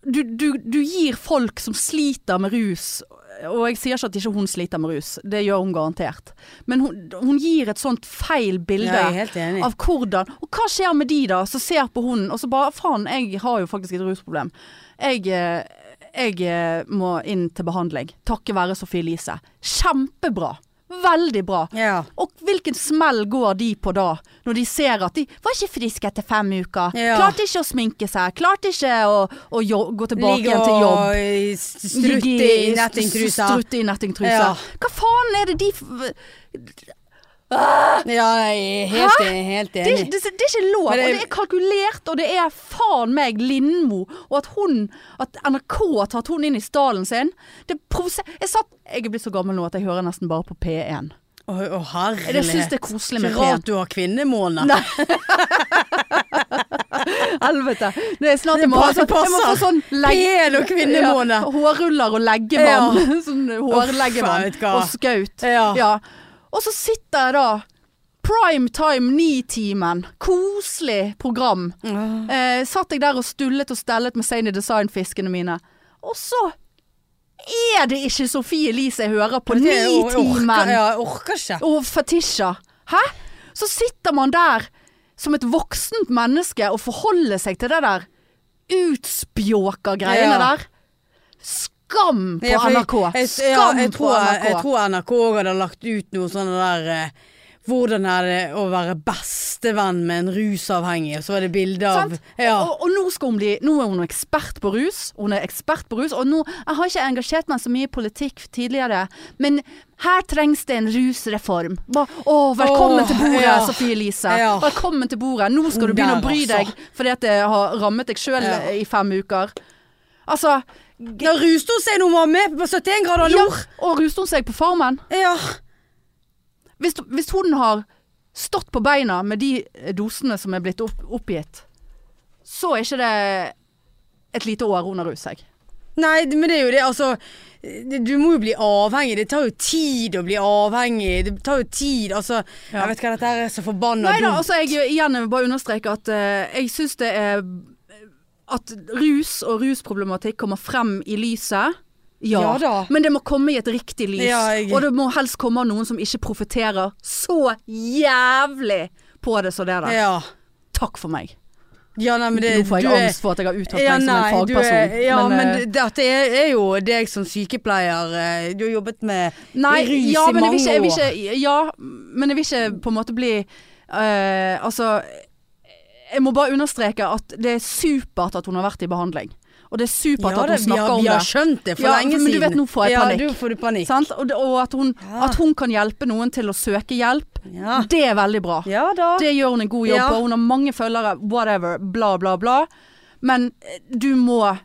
A: Du, du, du gir folk som sliter med rus Og jeg sier ikke at ikke hun sliter med rus, det gjør hun garantert. Men hun, hun gir et sånt feil bilde.
B: Ja, jeg er helt enig.
A: Av hvordan Og hva skjer med de da, som ser på hunden og så bare Faen, jeg har jo faktisk et rusproblem. Jeg, eh, jeg eh, må inn til behandling. Takket være Sophie Elise. Kjempebra. Veldig bra.
B: Ja.
A: Og hvilken smell går de på da, når de ser at de var ikke friske etter fem uker.
B: Ja.
A: Klarte ikke å sminke seg, klarte ikke å, å jo, gå tilbake
B: Ligge
A: igjen til jobb.
B: og eh, strutte
A: Ligge
B: i nettingtrusa.
A: Strutte i nettingtrusa.
B: Ja.
A: Hva faen er det de f-
B: Ja, jeg er helt, enig, helt
A: Det, er
B: enig.
A: ikke- det, det er ikke lov,
B: Men det-
A: og det er kalkulert, og det er faen meg Lindmo. Og at hun, at NRK har tatt hun inn i stallen sin. Det provoserer Jeg satt Jeg er blitt så gammel nå at jeg hører nesten bare på P1.
B: Å, å, herlighet.
A: Jeg syns det er koselig med
B: Ikke
A: P1.
B: rart du har kvinnemåned.
A: Nei. Helvete. Det er snart
B: Det
A: jeg må, ha
B: bare
A: sånn- jeg må få
B: passer.
A: sånn legg...
B: Pen og kvinnemåned.
A: Ja, hårruller og leggemann. sånn
B: Uff, jeg
A: hårleggemann
B: vet hva.
A: og skaut.
B: Ja.
A: Ja. Og så sitter jeg da. Prime time ni-timen. Koselig program. Eh, satt jeg der og stullet og stellet med Sane Design-fiskene mine. Og så er det ikke Sofie Elise jeg hører på
B: Det er- jeg orker-
A: ni-timen!
B: Ja, jeg orker ikke.
A: og fetisjer. Hæ? Så sitter man der som et voksent menneske og forholder seg til det der utspjåka greiene
B: Ja.
A: der. Skam på
B: Ja, for jeg-
A: NRK!
B: jeg- ja,
A: Skam
B: jeg
A: på
B: tror-
A: NRK!
B: Jeg tror NRK også hadde lagt ut noe sånn der eh, hvordan er det å være bestevenn med en rusavhengig? Og så var det bilde av
A: Sant?
B: ja.
A: Og, og nå, skal hun bli, nå er hun ekspert på rus. Hun er ekspert på rus. Og nå, jeg har ikke engasjert meg så mye i politikk tidligere, men her trengs det en rusreform. Ba, å, velkommen
B: Åh,
A: til bordet,
B: ja.
A: Sofie Elise.
B: Ja.
A: Velkommen til bordet. Nå skal du begynne å
B: Der,
A: bry deg fordi at det har rammet deg sjøl
B: Ja.
A: i fem uker. Altså
B: Da ruste hun seg når hun var med på 71 grader
A: ja,
B: nord.
A: Og ruste hun seg på Farmen?
B: Ja.
A: Hvis, hvis hun har stått på beina med de dosene som er blitt opp, oppgitt, så er ikke det et lite år hun har ruset seg.
B: Nei, men det er jo det, altså. det- Du må jo bli avhengig. Det tar jo tid å bli avhengig. Det tar jo tid, altså. Jeg vet hva dette her er så forbanna
A: Nei da,
B: dumt.
A: altså jeg igjen jeg vil bare understreke at eh, jeg syns det er At rus og rusproblematikk kommer frem i lyset. Ja.
B: Ja da.
A: Men det må komme i et riktig lys.
B: Ja, jeg-
A: Og det må helst komme av noen som ikke profitterer så jævlig på det som det der.
B: Ja.
A: Takk for meg.
B: ja, nei, men det
A: altså. Nå får
B: du
A: jeg
B: er-
A: angst for at jeg har uttalt
B: Ja,
A: meg
B: nei,
A: som en
B: du
A: fagperson.
B: er, ja, men,
A: eh,
B: det- dette er, er jo deg som sykepleier. eh, Du har jobbet med
A: Nei,
B: rus
A: ja,
B: i
A: men jeg vil
B: mange
A: ikke, jeg vil
B: år.
A: ikke, ja, men jeg vil ikke på en måte bli eh, Altså Jeg må bare understreke at det er supert at hun har vært i behandling. Og det er supert
B: Ja,
A: at
B: det,
A: hun
B: vi,
A: snakker
B: har,
A: om
B: vi har
A: det.
B: skjønt det for
A: Ja,
B: lenge
A: men
B: siden.
A: du vet, nå får jeg panikk.
B: Ja, du får du panikk.
A: Sant? Og, det- og at, hun,
B: Ja.
A: at hun kan hjelpe noen til å søke hjelp,
B: Ja.
A: det er veldig bra.
B: ja da.
A: Det gjør hun en god jobb
B: Ja.
A: på. Hun har mange følgere, whatever, bla, bla, bla. Men eh, du må eh,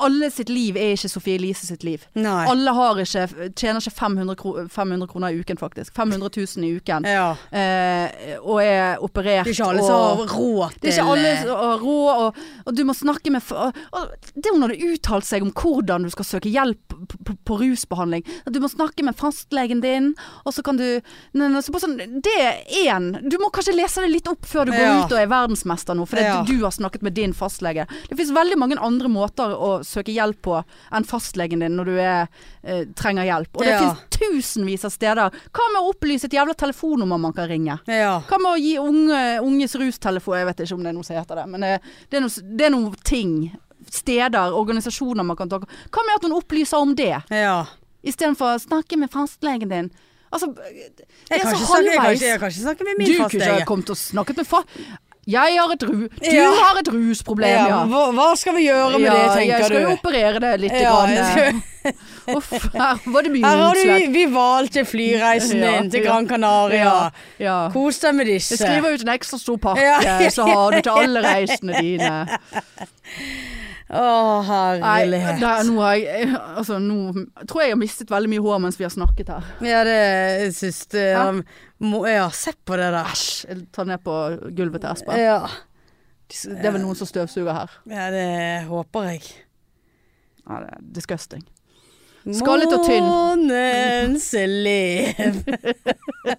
A: Alle sitt liv er ikke Sofie Elise sitt liv.
B: Nei.
A: Alle har ikke, tjener ikke 500, kro 500 kroner i uken, faktisk. 500 000 i uken.
B: Ja.
A: Eh, og er operert.
B: Det er ikke alle
A: og,
B: som har råd til eh,
A: det er ikke alle som har råd, og, og du må snakke med f- og, og Det hun hadde uttalt seg om hvordan du skal søke hjelp på, på, på rusbehandling at Du må snakke med fastlegen din, og så kan du nei, nei, så bare sånn, Det er én. Du må kanskje lese det litt opp før du går
B: Ja.
A: ut og er verdensmester nå, fordi at
B: Ja.
A: du har snakket med din fastlege. Det finnes veldig mange andre måter å søke hjelp på enn fastlegen din når du er, eh, trenger hjelp. Og det
B: Ja.
A: finnes tusenvis av steder. Hva med å opplyse et jævla telefonnummer man kan ringe?
B: Ja.
A: Hva med å gi unge, unges rustelefon? Jeg vet ikke om det er noe som heter det, men det, det, er, noe, det er noen ting. Steder, organisasjoner man kan ta Hva med at hun opplyser om det,
B: ja.
A: istedenfor å snakke med fastlegen din? Altså, det
B: Jeg
A: er
B: kan,
A: så
B: ikke snakke, jeg, kan
A: halvveis.
B: ikke, jeg kan ikke snakke med
A: Du
B: min
A: kunne ikke ha
B: fastlege.
A: kommet og snakket med fa... Jeg har et ru... Du
B: Ja.
A: har et rusproblem, ja.
B: Ja, hva, hva skal vi gjøre med
A: Ja,
B: det,
A: jeg
B: tenker
A: skal jo
B: du?
A: operere det litt.
B: Ja,
A: grann,
B: jeg
A: eh. Uff, her var det mye
B: Her har du
A: utslett.
B: vi valgte flyreisen
A: Ja,
B: din til
A: ja.
B: Gran Canaria.
A: Ja, ja.
B: Kos deg med
A: Jeg
B: disse.
A: skriver ut en ekstra stor pakke,
B: Ja.
A: så har du til alle reisene dine.
B: Å,
A: Nei,
B: herlighet.
A: da, nå har jeg altså, Nå tror jeg jeg har mistet veldig mye hår mens vi har snakket her.
B: Ja, det syns det
A: Hæ?
B: må, eh, Ja, se på det der.
A: Æsj. Jeg tar ned på gulvet til Espen.
B: Ja.
A: Det er vel noen som støvsuger her.
B: ja, det eh, håper jeg.
A: Ja, det er disgusting. Skallet og tynn.
B: Månens elev.
A: Hvem er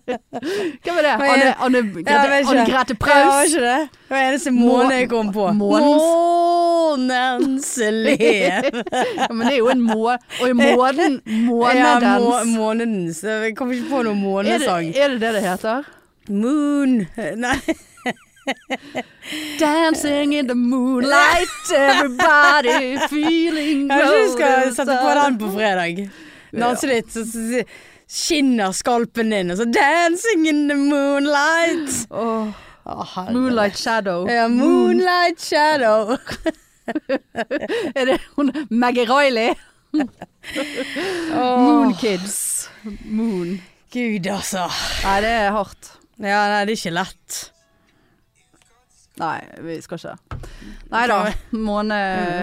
A: det?
B: Men-
A: Anne, Anne,
B: Ja, jeg vet
A: Grete,
B: ikke.
A: Anne Grete
B: Ja, var
A: Preus?
B: ikke det? Det var eneste måne jeg kom på.
A: Månens-
B: Månens elev.
A: Ja, men det er jo en må... Og i måneden
B: Ja, må,
A: Månedens.
B: månedens. Jeg kom ikke på noen
A: Er det,
B: månesang.
A: er det det det heter?
B: Moon. Eh, Nei.
A: Dancing in the moonlight, everybody feeling
B: Kanskje vi skal
A: golden
B: sette på den på fredag. Danse litt, så så- så skinner skalpen din, og så 'Dancing in the moonlight'.
A: Åh,
B: Å, herre.
A: Moonlight shadow.
B: Ja, moonlight shadow.
A: Er det hun Maggie Riley?
B: Åh.
A: Moon Kids. Moon.
B: Gud, altså.
A: Nei, det er hardt.
B: Ja, nei, det er ikke lett.
A: Nei, vi skal ikke. Nei da. Måne,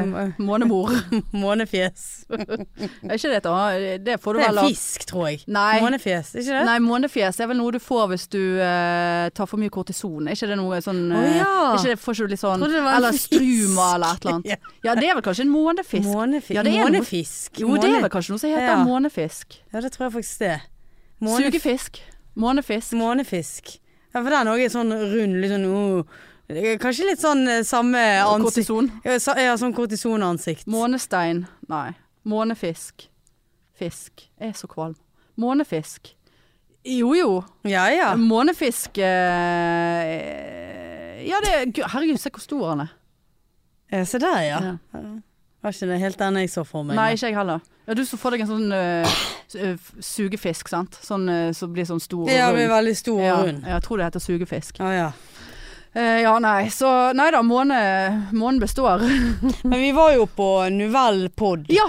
B: Mm,
A: månemor.
B: Månefjes.
A: Er ikke det et annet? Det får du
B: Det er
A: vel av
B: fisk, tror jeg.
A: Nei.
B: Månefjes, er ikke det?
A: Nei, månefjes er vel noe du får hvis du eh, tar for mye kortison. Er ikke det noe sånn
B: Å,
A: eh,
B: ja.
A: ikke det, Får ikke du litt sånn
B: Trodde det var en
A: Eller
B: fisk.
A: struma eller et eller annet. Ja, det er vel kanskje en månefisk.
B: Månefisk.
A: Ja, det er noe-
B: Månefisk.
A: jo, det
B: Måne-
A: er vel kanskje noe som heter
B: Ja.
A: månefisk.
B: Ja, det tror jeg faktisk det. Måne-
A: Sugefisk. Månefisk.
B: Månefisk. Ja, for den òg er sånn rund, litt sånn uh, Kanskje litt sånn eh, samme ansikt
A: Kortison.
B: Ja, sa- ja, sånn kortisonansikt.
A: Månestein. Nei. Månefisk. Fisk. Jeg er så kvalm. Månefisk. Jo jo.
B: Ja ja.
A: Månefisk eh, Ja, det er Gud, Herregud, se hvor stor han er.
B: Ja, Se der, ja.
A: Ja.
B: Var ikke det helt den jeg så for meg.
A: Nei, ikke jeg heller. Ja, du så for deg en sånn øh, s- øh, f- sugefisk, sant? Sånn øh, som blir sånn stor og
B: Ja,
A: rund.
B: men veldig stor
A: ja,
B: og rund.
A: ja, jeg tror det heter sugefisk.
B: Ja, ja.
A: Eh, ja, nei, så Nei da, månen måne består.
B: Men vi var jo på Nuvell Pod.
A: ja!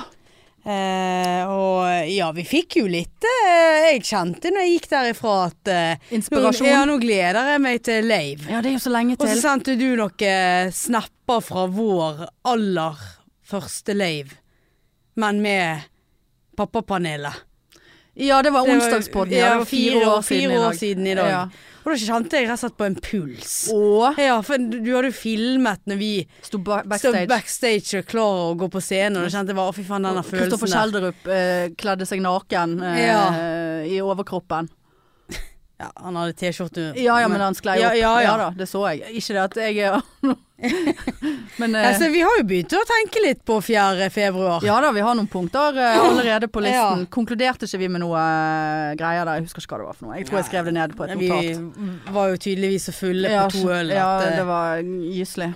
B: Eh, og ja, vi fikk jo litt eh, Jeg kjente når jeg gikk derifra at eh,
A: Inspirasjon.
B: Nå, ja, nå gleder jeg meg til Lave.
A: Ja, det er jo så lenge
B: Og så
A: til.
B: sendte du noen eh, snapper fra vår aller første lave, men med pappapanelet.
A: Ja, det var
B: Det var-
A: onsdagspodden.
B: ja,
A: Ja, det var fire, år, siden
B: fire
A: i
B: år
A: dag.
B: siden i dag.
A: Ja.
B: Og da kjente jeg rett og slett på en puls.
A: Og
B: Ja, for du du hadde jo filmet når vi
A: sto ba
B: backstage.
A: backstage.
B: backstage og klar å gå på scenen, og da kjente jeg bare å fy faen, denne
A: Kristoffer
B: følelsen der.
A: Kjelderup eh, kledde seg naken eh,
B: Ja.
A: i overkroppen.
B: Ja, han hadde T-skjorte.
A: Ja ja, men han sklei
B: Ja,
A: opp.
B: ja, ja.
A: da, det så jeg. Ikke det at jeg er Men eh,
B: Ja, så vi har jo begynt å tenke litt på 4. februar.
A: Ja da, vi har noen punkter eh, allerede på listen.
B: Ja.
A: Konkluderte ikke vi med noe eh, greier der? Jeg husker ikke hva det var for noe. Jeg tror jeg skrev det ned på et
B: vi
A: notat.
B: var jo tydeligvis så fulle
A: Ja,
B: på to øl.
A: ja,
B: at, eh,
A: det var gyselig.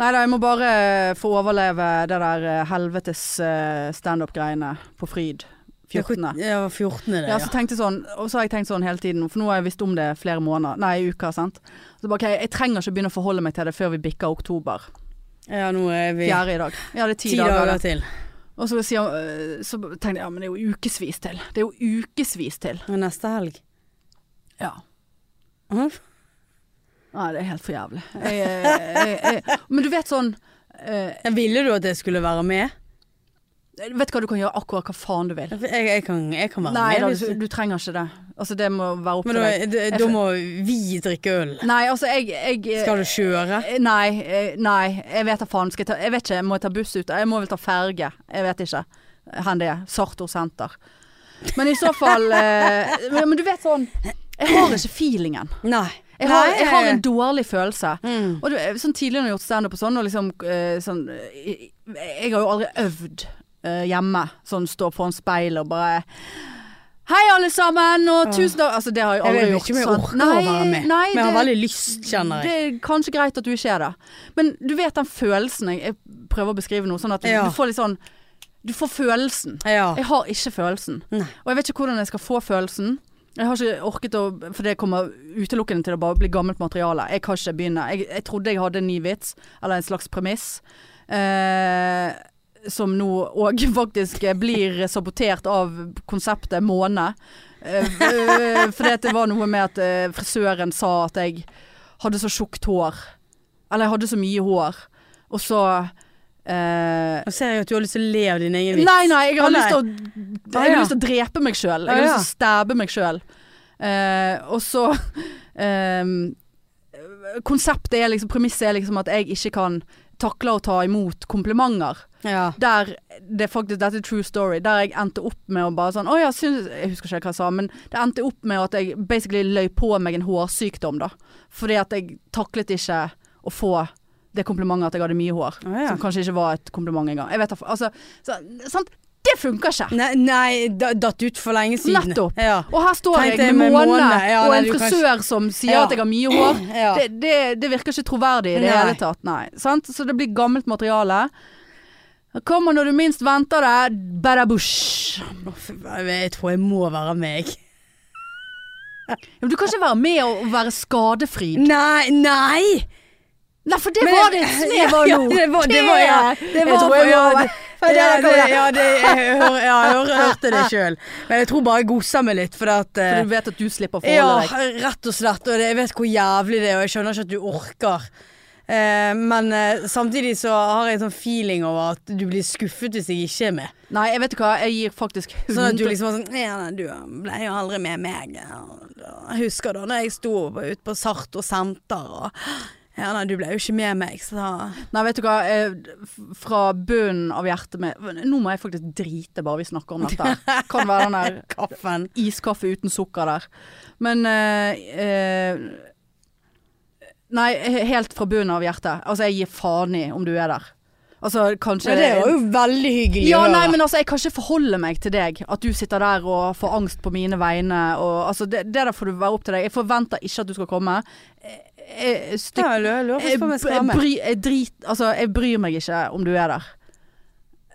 A: Nei da, jeg må bare eh, få overleve det der eh, helvetes eh, standup-greiene på Fryd 14.
B: Ja, 14. det,
A: Ja, så tenkte jeg sånn, og så har jeg tenkt sånn hele tiden, for nå har jeg visst om det flere måneder, nei uker, sant. Så bare, ok, jeg trenger ikke begynne å forholde meg til det før vi bikker oktober.
B: Ja, nå er vi
A: Fjerde i dag. Ja, det er ti,
B: ti
A: dager.
B: dager
A: det.
B: til.
A: Og så, sier han, øh, så tenkte jeg ja, men det er jo ukevis til. Det er jo ukevis til.
B: Og neste helg.
A: Ja.
B: Mhm.
A: Nei, det er helt for jævlig. Jeg, jeg, jeg, jeg. Men du vet sånn øh,
B: Ja, Ville du at jeg skulle være med?
A: Vet du hva, du kan gjøre akkurat hva faen du vil.
B: Jeg, jeg, kan, jeg kan være
A: Nei
B: med.
A: da,
B: hvis-
A: du, du trenger ikke det. Altså, det må være opp
B: Men
A: til
B: da,
A: deg.
B: da- da må vi drikke øl.
A: Nei, altså, jeg, jeg
B: Skal du kjøre?
A: Eh, Nei, eh, nei, jeg vet da faen. Skal jeg, ta, jeg vet ikke, må jeg ta buss ut? Jeg må vel ta ferge. Jeg vet ikke. Hen det er. Sartor senter. Men i så fall eh, men, men du vet sånn Jeg har ikke feelingen.
B: Nei.
A: Jeg har,
B: Nei,
A: jeg har en dårlig følelse.
B: Mm.
A: Og du, sånn tidligere når jeg har gjort standup og sånn, og liksom eh, sånn eh, Jeg har jo aldri øvd eh, hjemme. Sånn stå foran speilet og bare Hei, alle sammen, og tusen takk Altså, det har jeg
B: Jeg
A: aldri
B: vet
A: gjort.
B: ikke om jeg
A: sant?
B: orker
A: Nei,
B: å være med.
A: nei,
B: men jeg har
A: det-
B: veldig lyst, kjenner
A: det
B: jeg.
A: er kanskje greit at du ikke er det. Men du vet den følelsen jeg, jeg prøver å beskrive nå, sånn at du,
B: Ja.
A: du får litt sånn Du får følelsen.
B: Ja.
A: Jeg har ikke følelsen.
B: Nei.
A: Og jeg vet ikke hvordan jeg skal få følelsen. Jeg har ikke orket å For det kommer utelukkende til å bare bli gammelt materiale. Jeg kan ikke begynne. Jeg, jeg trodde jeg hadde en ny vits, eller en slags premiss. Eh, som nå òg faktisk eh, blir sabotert av konseptet måne. Eh, eh, fordi at det var noe med at eh, frisøren sa at jeg hadde så tjukt hår. Eller jeg hadde så mye hår. Og så eh,
B: Nå ser jeg at du har lyst til å le av din egen vits.
A: Nei, nei, jeg har
B: Å, nei.
A: lyst til å
B: Å,
A: Jeg har
B: ja.
A: lyst til å drepe meg sjøl. Jeg har
B: Å, ja.
A: lyst til å stabbe meg sjøl. og så ehm, Konseptet er liksom Premisset er liksom at jeg ikke kan takle å ta imot komplimenter.
B: Ja.
A: Der det faktisk Dette er true story. Der jeg endte opp med å bare sånn Å ja, syns Jeg husker ikke hva jeg sa, men det endte opp med at jeg basically løy på meg en hårsykdom, da. Fordi at jeg taklet ikke å få det komplimentet at jeg hadde mye hår.
B: Å, ja.
A: Som kanskje ikke var et kompliment engang. Jeg vet da fa- Altså, så, sant? Det funker ikke!
B: Nei, nei da- datt ut for lenge siden.
A: Nettopp.
B: Ja.
A: Og her står
B: Tenkte
A: jeg
B: jeg
A: med
B: Mm. med
A: måne
B: måne. Ja,
A: og
B: nei,
A: en
B: du kan ikke-
A: frisør som sier
B: Ja.
A: at jeg har mye hår.
B: Ja.
A: Det, det, det virker ikke troverdig i det
B: Nei.
A: hele tatt. Nei. Sant? Så det blir gammelt materiale. Det Kommer når du minst venter det. Badabush.
B: Å, fy, Jeg tror jeg må være med, jeg.
A: Ja, men du kan ikke være med og være skadefri.
B: Nei, nei!
A: Nei, for det
B: Mm. Men-
A: var det et snev av
B: Ja,
A: nå.
B: det var, det var, ja, det var
A: jeg tror jeg
B: på-
A: må,
B: ja, det- Det,
A: der kommer
B: det,
A: det.
B: ja, det, jeg, hører, ja, jeg hører, hørte det sjøl. Men jeg tror bare jeg godser meg litt, for at eh,
A: For du vet at du slipper å
B: Ja,
A: forholde deg.
B: rett og slett. Og det, jeg vet hvor jævlig det er, og jeg skjønner ikke at du orker. Eh, men eh, samtidig så har jeg en sånn feeling over at du blir skuffet hvis jeg ikke er med.
A: Nei, jeg vet du hva, jeg gir faktisk
B: Sånn at du liksom er sånn Ja, nei, du ble jo aldri med meg. Jeg husker da når jeg sto ute på Sartor senter og Ja, nei, du ble jo ikke med meg, så da
A: Nei, vet du hva, eh, f- fra bunnen av hjertet med Nå må jeg faktisk drite bare vi snakker om dette. her. Kan være den der
B: Kaffen.
A: iskaffe uten sukker der. Men eh, eh, Nei, he- helt fra bunnen av hjertet. Altså, jeg gir faen i om du er der. Altså, kanskje
B: Ja, det var jo veldig hyggelig.
A: Ja,
B: å høre.
A: nei, men altså, jeg kan ikke forholde meg til deg. At du sitter der og får angst på mine vegne. Og, altså, det, det der får du være opp til deg. Jeg forventer ikke at du skal komme. Eh, eh, styk-
B: ja, jeg lurer
A: jeg,
B: på om jeg skal
A: jeg,
B: være med.
A: bry, jeg, drit, altså, jeg bryr meg ikke om du er der.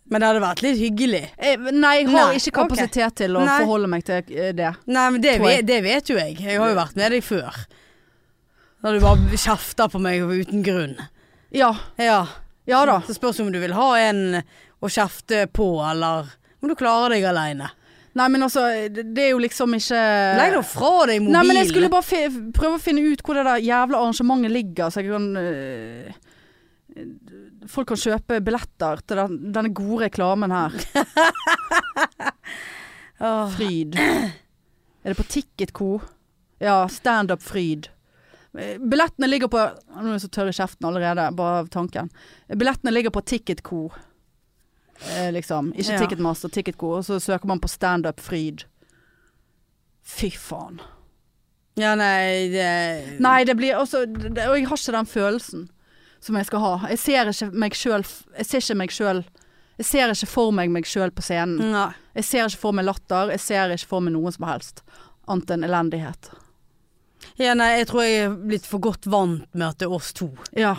B: Men det hadde vært litt hyggelig.
A: Jeg, nei, jeg har
B: Nei,
A: ikke kapasitet til å
B: Nei.
A: forholde meg til eh, det.
B: Nei, men det,
A: Tror jeg.
B: vet- det vet jo jeg. Jeg har jo vært med deg før. Da du bare kjefter på meg uten grunn.
A: Ja,
B: Ja.
A: ja da.
B: Så spørs om du vil ha en å kjefte på, eller om du klarer deg aleine.
A: Nei, men altså, det, det er jo liksom ikke
B: Legg nå fra deg mobilen.
A: Nei, men jeg skulle bare fi, prøve å finne ut hvor det der jævla arrangementet ligger, så jeg kan øh, Folk kan kjøpe billetter til den, denne gode reklamen her.
B: Åh.
A: Fryd. Er det på Ticketco? Ja, Standup Fryd. Billettene ligger på Nå er jeg så tørr i kjeften allerede, bare av tanken. Billettene ligger på Ticketco, eh, liksom. Ikke
B: Ja.
A: Ticketmaster, Ticketco. Og så søker man på Standup Fryd. Fy faen.
B: Ja, nei, det
A: Nei, det blir også det, Og jeg har ikke den følelsen som jeg skal ha. Jeg ser ikke meg sjøl Jeg ser ikke meg sjøl Jeg ser ikke for meg meg sjøl på scenen.
B: Nei.
A: Jeg ser ikke for meg latter. Jeg ser ikke for meg noen som helst. Annet enn elendighet.
B: Ja, nei, jeg tror jeg er blitt for godt vant med at det er oss to.
A: Ja.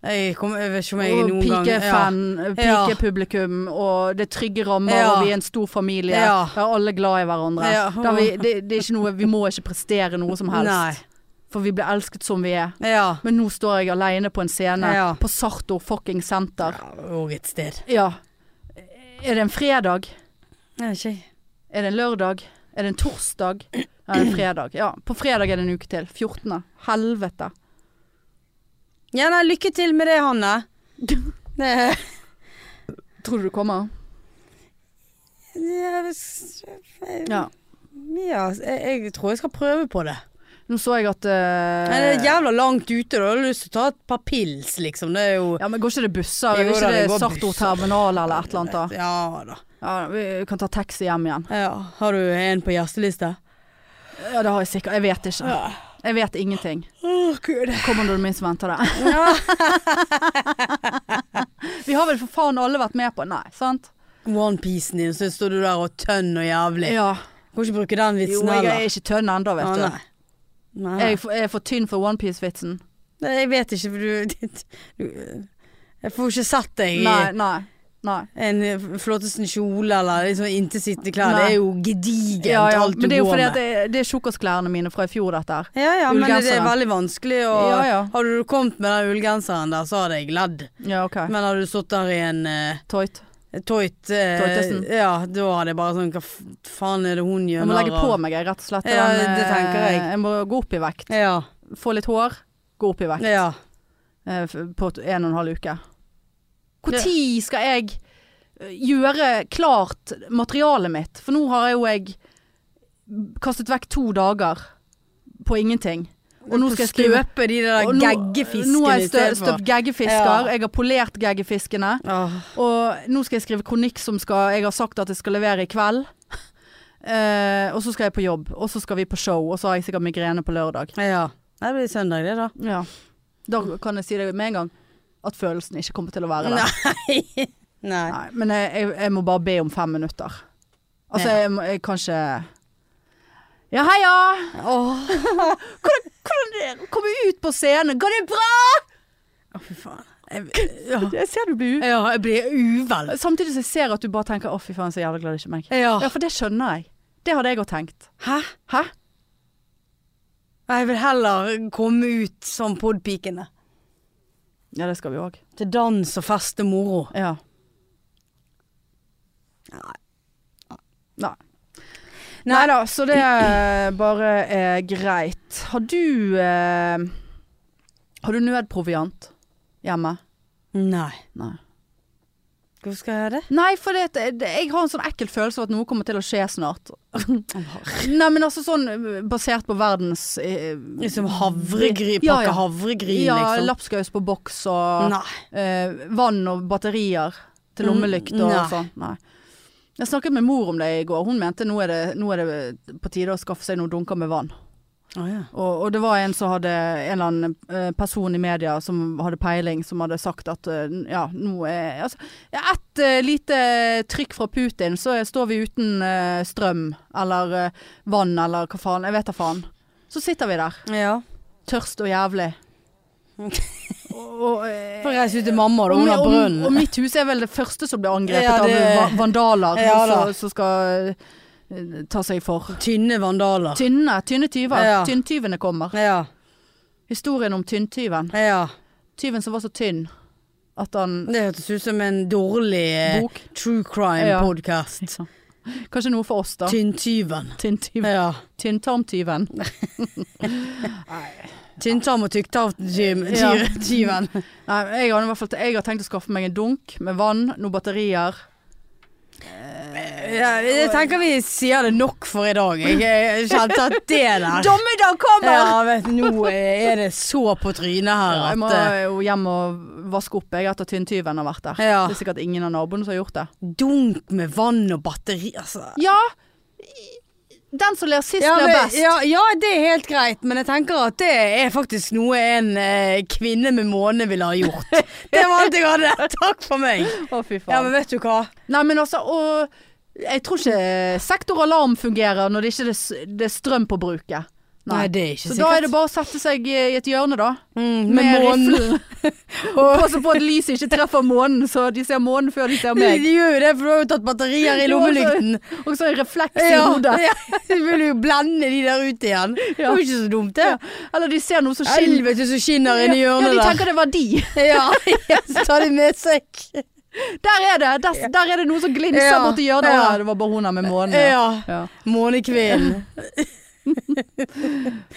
B: Jeg, kom, jeg vet ikke om jeg
A: Og
B: noen gang
A: pikefan,
B: Ja.
A: pikepublikum, og det er trygge rammer,
B: Ja.
A: og vi er en stor familie.
B: Ja.
A: Der alle er glad i hverandre.
B: Ja.
A: Der vi, det, det er ikke noe Vi må ikke prestere noe som
B: Ja.
A: helst.
B: Nei.
A: For vi blir elsket som vi er.
B: Ja.
A: Men nå står jeg aleine på en scene
B: Ja.
A: på Sartor fucking senter.
B: Og et sted.
A: Ja. Er det en fredag?
B: Jeg vet ikke.
A: Er det en lørdag? Er det en torsdag? Er det en fredag? Ja, på fredag er det en uke til. 14. Helvete.
B: Ja, nei, lykke til med det, Hanne. Det
A: Tror du du kommer?
B: Ja, hvis- jeg-
A: Ja.
B: ja jeg, jeg tror jeg skal prøve på det.
A: Nå så jeg at
B: Men det er
A: eh,
B: jævla langt ute, da. Jeg har lyst til å ta et par pils, liksom. Det er jo
A: Ja, men går ikke det busser?
B: Jo
A: Er
B: da,
A: ikke
B: det
A: det
B: går
A: Sartor
B: busser.
A: terminal eller et eller annet da?
B: Ja da.
A: Ja, vi kan ta taxi hjem igjen.
B: Ja. Har du en på gjestelista?
A: Ja, det har jeg sikkert. Jeg vet ikke. Jeg vet ingenting.
B: Å, gud.
A: Kommer når du minst venter det.
B: Ja.
A: Vi har vel for faen alle vært med på Nei, sant?
B: Onepiecen din, så står du der og tønn og jævlig.
A: Ja.
B: Kan ikke bruke den
A: Jo,
B: vitsen
A: jeg
B: heller.
A: er ikke tønn ennå, vet
B: Å,
A: du.
B: nei. Nei, nei.
A: Jeg er for- jeg er for tynn for onepiece-vitsen.
B: Nei, jeg vet ikke, for du, du Jeg får ikke sett deg i
A: Nei, nei. Nei.
B: en flotteste kjole eller liksom inntilsittende klær.
A: Nei.
B: Det er jo gedigent,
A: Ja, ja.
B: alt du
A: Men det er jo
B: går
A: fordi
B: med.
A: at det, det er tjukkasklærne mine fra i fjor, dette her.
B: Ja ja, men det er
A: Ullgenseren.
B: veldig vanskelig å
A: Ja, ja.
B: Hadde du kommet med den ullgenseren der, så hadde jeg ledd.
A: Ja, OK.
B: Men hadde du stått der i en uh,
A: Tøyt.
B: tøyt eh,
A: Tøytesen.
B: Ja, da hadde jeg bare sånn Hva f- faen er det hun gjør
A: Jeg må
B: narr
A: legge på
B: av?»
A: meg, jeg, rett og slett.
B: Ja,
A: Den, eh,
B: det tenker jeg.
A: Jeg må gå opp i vekt.
B: Ja.
A: Få litt hår, gå opp i vekt.
B: ja.
A: eh, f- På t- en og en halv uke. Når skal jeg eh, gjøre klart materialet mitt? For nå har jo jeg kastet vekk to dager på ingenting. Og nå skal jeg skrive
B: støpe de der
A: Og nå- Nå
B: geggefiskene
A: har jeg
B: i
A: stø,
B: stedet for.
A: støpt geggefisker. Jeg har polert geggefiskene.
B: Åh.
A: Og nå skal jeg skrive kronikk som skal, jeg har sagt at jeg skal levere i kveld. Eh, og så skal jeg på jobb, og så skal vi på show, og så har jeg sikkert migrene på lørdag.
B: Ja. Det blir søndag, det, da.
A: Ja. Da kan jeg si det med en gang at følelsen ikke kommer til å være der.
B: Nei. Nei.
A: Nei, men jeg, jeg, jeg må bare be om fem minutter. Altså,
B: Ja.
A: jeg, må- jeg kan ikke Ja, heia!
B: Åh.
A: Hvordan komme ut på scenen? Går det bra?
B: Å, fy faen. Jeg, ja.
A: Jeg ser du blir
B: ja, jeg blir uvel.
A: Samtidig som jeg ser at du bare tenker 'Å, fy faen, så jævla glad det ikke er meg'. Ja,
B: Ja.
A: for det skjønner jeg. Det hadde jeg òg tenkt.
B: Hæ?
A: Hæ?
B: Jeg vil heller komme ut som podpikene.
A: Ja, det skal vi òg.
B: Til dans og fest og moro.
A: Ja. Nei.
B: Nei.
A: Nei da, så det er bare eh, greit. Har du eh, Har du nødproviant hjemme?
B: Nei.
A: Nei.
B: Hvorfor skal jeg ha det?
A: Nei, for det, det, jeg har en sånn ekkel følelse av at noe kommer til å skje snart. Nei, men altså sånn eh, basert på verdens eh,
B: Liksom havregry, pakke
A: Ja, ja.
B: havregryn,
A: Ja,
B: liksom.
A: lapskaus på boks og
B: Nei.
A: eh, vann og batterier til
B: Mm,
A: lommelykt og
B: nei.
A: sånn. Nei. Jeg snakket med mor om det i går. Hun mente nå er det, nå er det på tide å skaffe seg noen dunker med vann.
B: Å ja.
A: Og, og det var en som hadde en eller annen eh, person i media som hadde peiling, som hadde sagt at eh, n- ja, nå er altså, ja, Et eh, lite trykk fra Putin, så er- står vi uten eh, strøm eller eh, vann eller hva faen. Jeg vet da faen. Så sitter vi der,
B: ja.
A: tørst og jævlig. og, og, eh,
B: Får reise ut til mamma, da. Hun har
A: og-
B: brønn.
A: Og, og mitt hus er vel det første som blir angrepet
B: Ja, det-
A: av va- vandaler
B: Ja, da.
A: som- som skal eh, ta seg for.
B: Tynne vandaler.
A: Tynne, tynne tyver.
B: Ja.
A: Tynntyvene kommer.
B: Ja.
A: Historien om tynntyven.
B: ja.
A: Tyven som var så tynn at han
B: Det hørtes ut som en dårlig eh,
A: Bok.
B: true crime-podkast.
A: Kanskje noe for oss, da.
B: Tynntyven.
A: Tynntyven.
B: Ja.
A: Tynntarmtyven.
B: Tynntarm og
A: Ja.
B: tykktarm-tyven.
A: Nei, jeg har, i hvert fall, jeg har tenkt å skaffe meg en dunk med vann, noen batterier.
B: Ja, jeg tenker vi sier det nok for i dag. Jeg, jeg kjente at det der
A: Dommedag kommer!
B: ja, vet, du, Nå eh, er det så på trynet her
A: Jeg må
B: at eh,
A: jo hjem og vaske opp jeg etter tynntyven har vært der.
B: Ja.
A: Det er sikkert ingen av naboene som har gjort det.
B: Dunk med vann og batteri, altså.
A: Ja! Den som ler sist,
B: Ja,
A: ler
B: men,
A: best.
B: ja, ja, det er helt greit, men jeg tenker at det er faktisk noe en eh, kvinne med måne ville ha gjort. Det var alt jeg hadde. Takk for meg.
A: Å, fy faen.
B: Ja, men vet du hva?
A: Nei, men altså, og jeg tror ikke sektoralarm fungerer når det ikke er, s- det er strøm på bruket.
B: Nei, det er ikke
A: Så
B: sikkert.
A: da er det bare å sette seg i et hjørne, da.
B: mm,
A: Med
B: med månen.
A: riflen. Og passe på at lyset ikke treffer månen, så de ser månen før de ser
B: De
A: meg.
B: gjør jo det, for du har jo tatt batterier i
A: Jo, altså,
B: lommelykten.
A: Og så en refleks i hodet.
B: ja. Du vil jo blende de der ut igjen. Det var jo ikke så dumt, det.
A: Ja. Eller de ser noe som skinner.
B: Helvete så skinner inni
A: Ja,
B: hjørnet
A: de tenker det var de.
B: der. Ja, ja, så tar de med seg.
A: Der er det, der, der er det noe som glinser
B: Ja.
A: borti hjørnet.
B: Ja.
A: Å, Det var bare hun her med månen. ja.
B: Ja.
A: Ja.
B: Månekvinnen.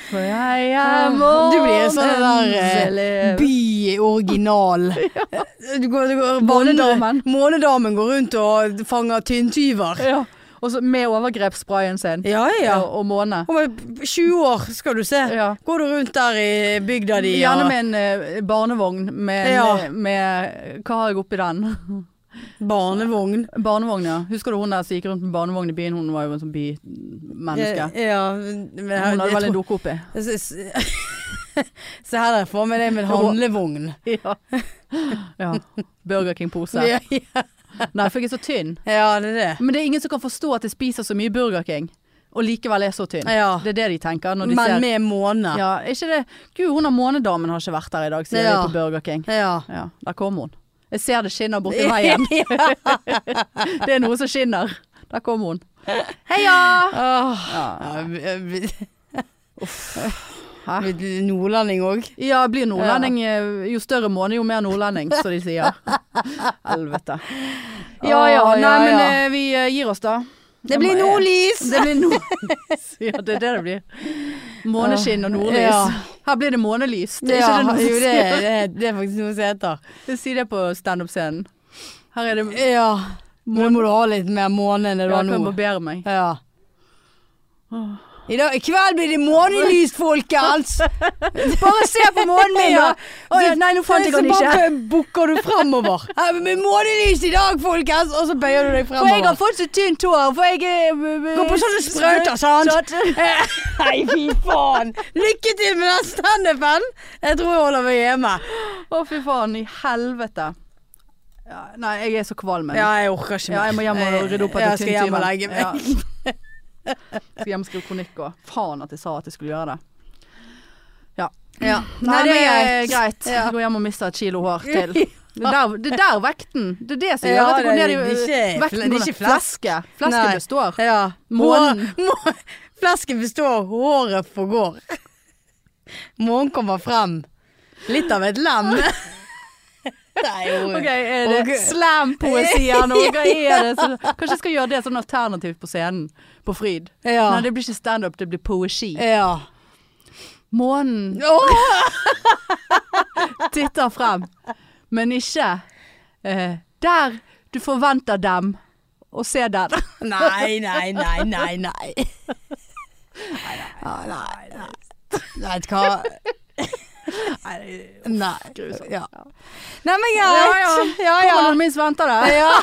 A: For jeg
B: er
A: Du blir sånn den
B: månens
A: der eh,
B: By-original. Du går, du går,
A: Månedamen.
B: vandrer- Månedamen går rundt og fanger tynntyver.
A: ja. Og så med overgrepssprayen sin.
B: Ja, ja.
A: Og, og måne.
B: Om et 20 år skal du se.
A: Ja.
B: Går du rundt der i bygda di
A: Gjerne med en eh, barnevogn med, eh,
B: Ja.
A: med Hva har jeg oppi den?
B: barnevogn?
A: Barnevogn, ja. Husker du hun der som gikk rundt med barnevogn i byen? Hun var jo en sånn bymenneske.
B: Ja, men jeg-
A: Hun hadde
B: jeg
A: vel en
B: tror-
A: dukke oppi.
B: Se- se- Se her, der får vi det med en handlevogn.
A: Ja. ja. Burger King-pose.
B: Ja, ja.
A: Nei, for jeg er så tynn.
B: ja, det er det.
A: Men det er ingen som kan forstå at jeg spiser så mye Burger King, og likevel er så tynn.
B: Ja.
A: Det er det de tenker når de
B: Men
A: ser
B: med måne.
A: Ja, er ikke det Gud, hun har månedamen har ikke vært her i dag, sier
B: Ja.
A: de på Burger King.
B: Ja.
A: Ja, der kom hun. Jeg ser det skinner borti veien. det er noe som skinner. Der kom hun. Heia!
B: Åh.
A: Ja,
B: Ja, vi- vi-
A: Hæ?
B: vi- Nordlending òg.
A: ja blir nordlending eh, Jo større måne, jo mer nordlending, som de sier. Helvete. Ja ja,
B: Åh, ja,
A: nei men
B: ja.
A: eh, vi eh, gir oss da.
B: Det blir nordlys!
A: Det blir nordlys. Ja, det er det det blir. Måneskinn og nordlys.
B: Ja.
A: Her blir det månelys. Det er
B: Ja,
A: ikke det noe
B: jo,
A: som
B: det,
A: sier.
B: det, det er faktisk noe som heter.
A: Si det på standup-scenen. Her er det
B: Ja. Nå må du ha litt mer måne enn det du
A: Ja,
B: har
A: jeg kan
B: nå.
A: barbere meg.
B: Ja. I, dag, I kveld blir det månelys, folkens! Bare se på månen min, da!
A: Ja. Å, ja, nei, nå fant jeg
B: Så
A: den
B: bare
A: ikke.
B: bukker du fremover. Her Med månelys i dag, folkens! Og så bøyer du deg
A: For jeg har
B: fremover.
A: fått så tynt hår, for jeg er
B: Gå på sånne sprøyter, sant?
A: Sånn.
B: Nei, fy faen! Lykke til med den standupen! Jeg tror jeg holder meg hjemme.
A: Å, fy faen. I helvete. Ja, nei, jeg er så kvalm. jeg.
B: Ja, jeg orker ikke mer.
A: Ja, jeg må hjem og rydde opp etter
B: Jeg skal hjem og legge
A: tynntyven.
B: meg.
A: Skal hjem og skrive kronikk òg. Faen at jeg sa at jeg skulle gjøre det.
B: Ja.
A: Nei, det er greit.
B: Ja.
A: Gå hjem og miste et kilo hår til. Det er der, det er der vekten Det er det som
B: Ja,
A: gjør at det går
B: det
A: ned
B: er-
A: i
B: det er ikke-
A: vekten.
B: det er
A: går
B: ikke
A: ned. flaske. Flaske
B: Nei.
A: består.
B: Ja.
A: Månen.
B: Må- må- Flasken består, håret forgår. Månen kommer frem. Litt av et lem. Det er jo
A: Ok, er det
B: Ok.
A: slam-poesi her nå? Hva er det? Så, kanskje jeg skal gjøre det sånn alternativ på scenen, på Fryd.
B: Ja.
A: Nei, det blir ikke standup, det blir poesi.
B: ja.
A: Månen
B: Åh,
A: titter frem, men ikke eh, der du forventer dem å se den.
B: Nei, nei, nei, nei, nei. Ja, nei, nei. Vet du hva? Nei. Ja. Nei, men
A: Ja,
B: greit.
A: ja.
B: Ja, ja.
A: Kommer noen minst venter det?
B: ja.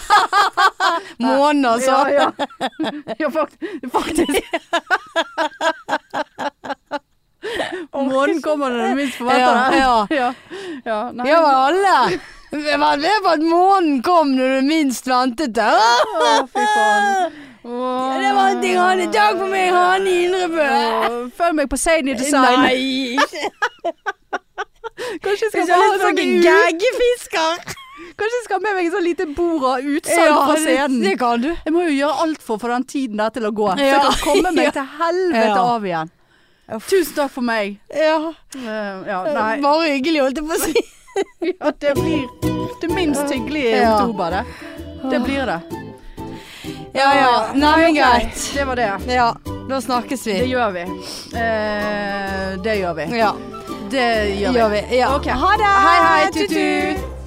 B: Månen, altså.
A: Ja, ja. ja fakt faktisk. Månen kommer når du minst forventer det.
B: Ja,
A: ja. ja. nei.
B: Ja, men alle. Hvem var det på at månen kom når du minst ventet det? Åh,
A: Å, fy faen. Åh.
B: Det var en ting han hadde i dag på meg, han i Indrebø.
A: Åh, Følg meg på Sadie Design.
B: Nei, ikke.
A: Kanskje jeg skal,
B: Jeg skal
A: bare
B: ha
A: ha sånn
B: noen
A: ut-
B: gaggefisker.
A: Kanskje jeg skal ha med meg et sånn lite bord av utsalg fra scenen.
B: Det kan du.
A: Jeg må jo gjøre alt for å få den tiden der til å gå, så jeg
B: Ja.
A: kan komme meg
B: Ja.
A: til helvete
B: Ja.
A: av igjen.
B: Uff.
A: Tusen takk for meg.
B: Ja,
A: Eh, ja, nei.
B: bare hyggelig holdt jeg på å si.
A: Ja, det blir det minst hyggelige i
B: Ja.
A: oktober, det. Det blir det.
B: Ja, ja. Nei, men greit.
A: Det var det.
B: Ja, da snakkes vi.
A: Det gjør vi. Eh, det gjør vi.
B: Ja,
A: Det gjør vi.
B: gjør vi. Ja.
A: Ok.
B: Ha det.
A: Hei, hei,
B: Tut,
A: tut-tut.
B: tut.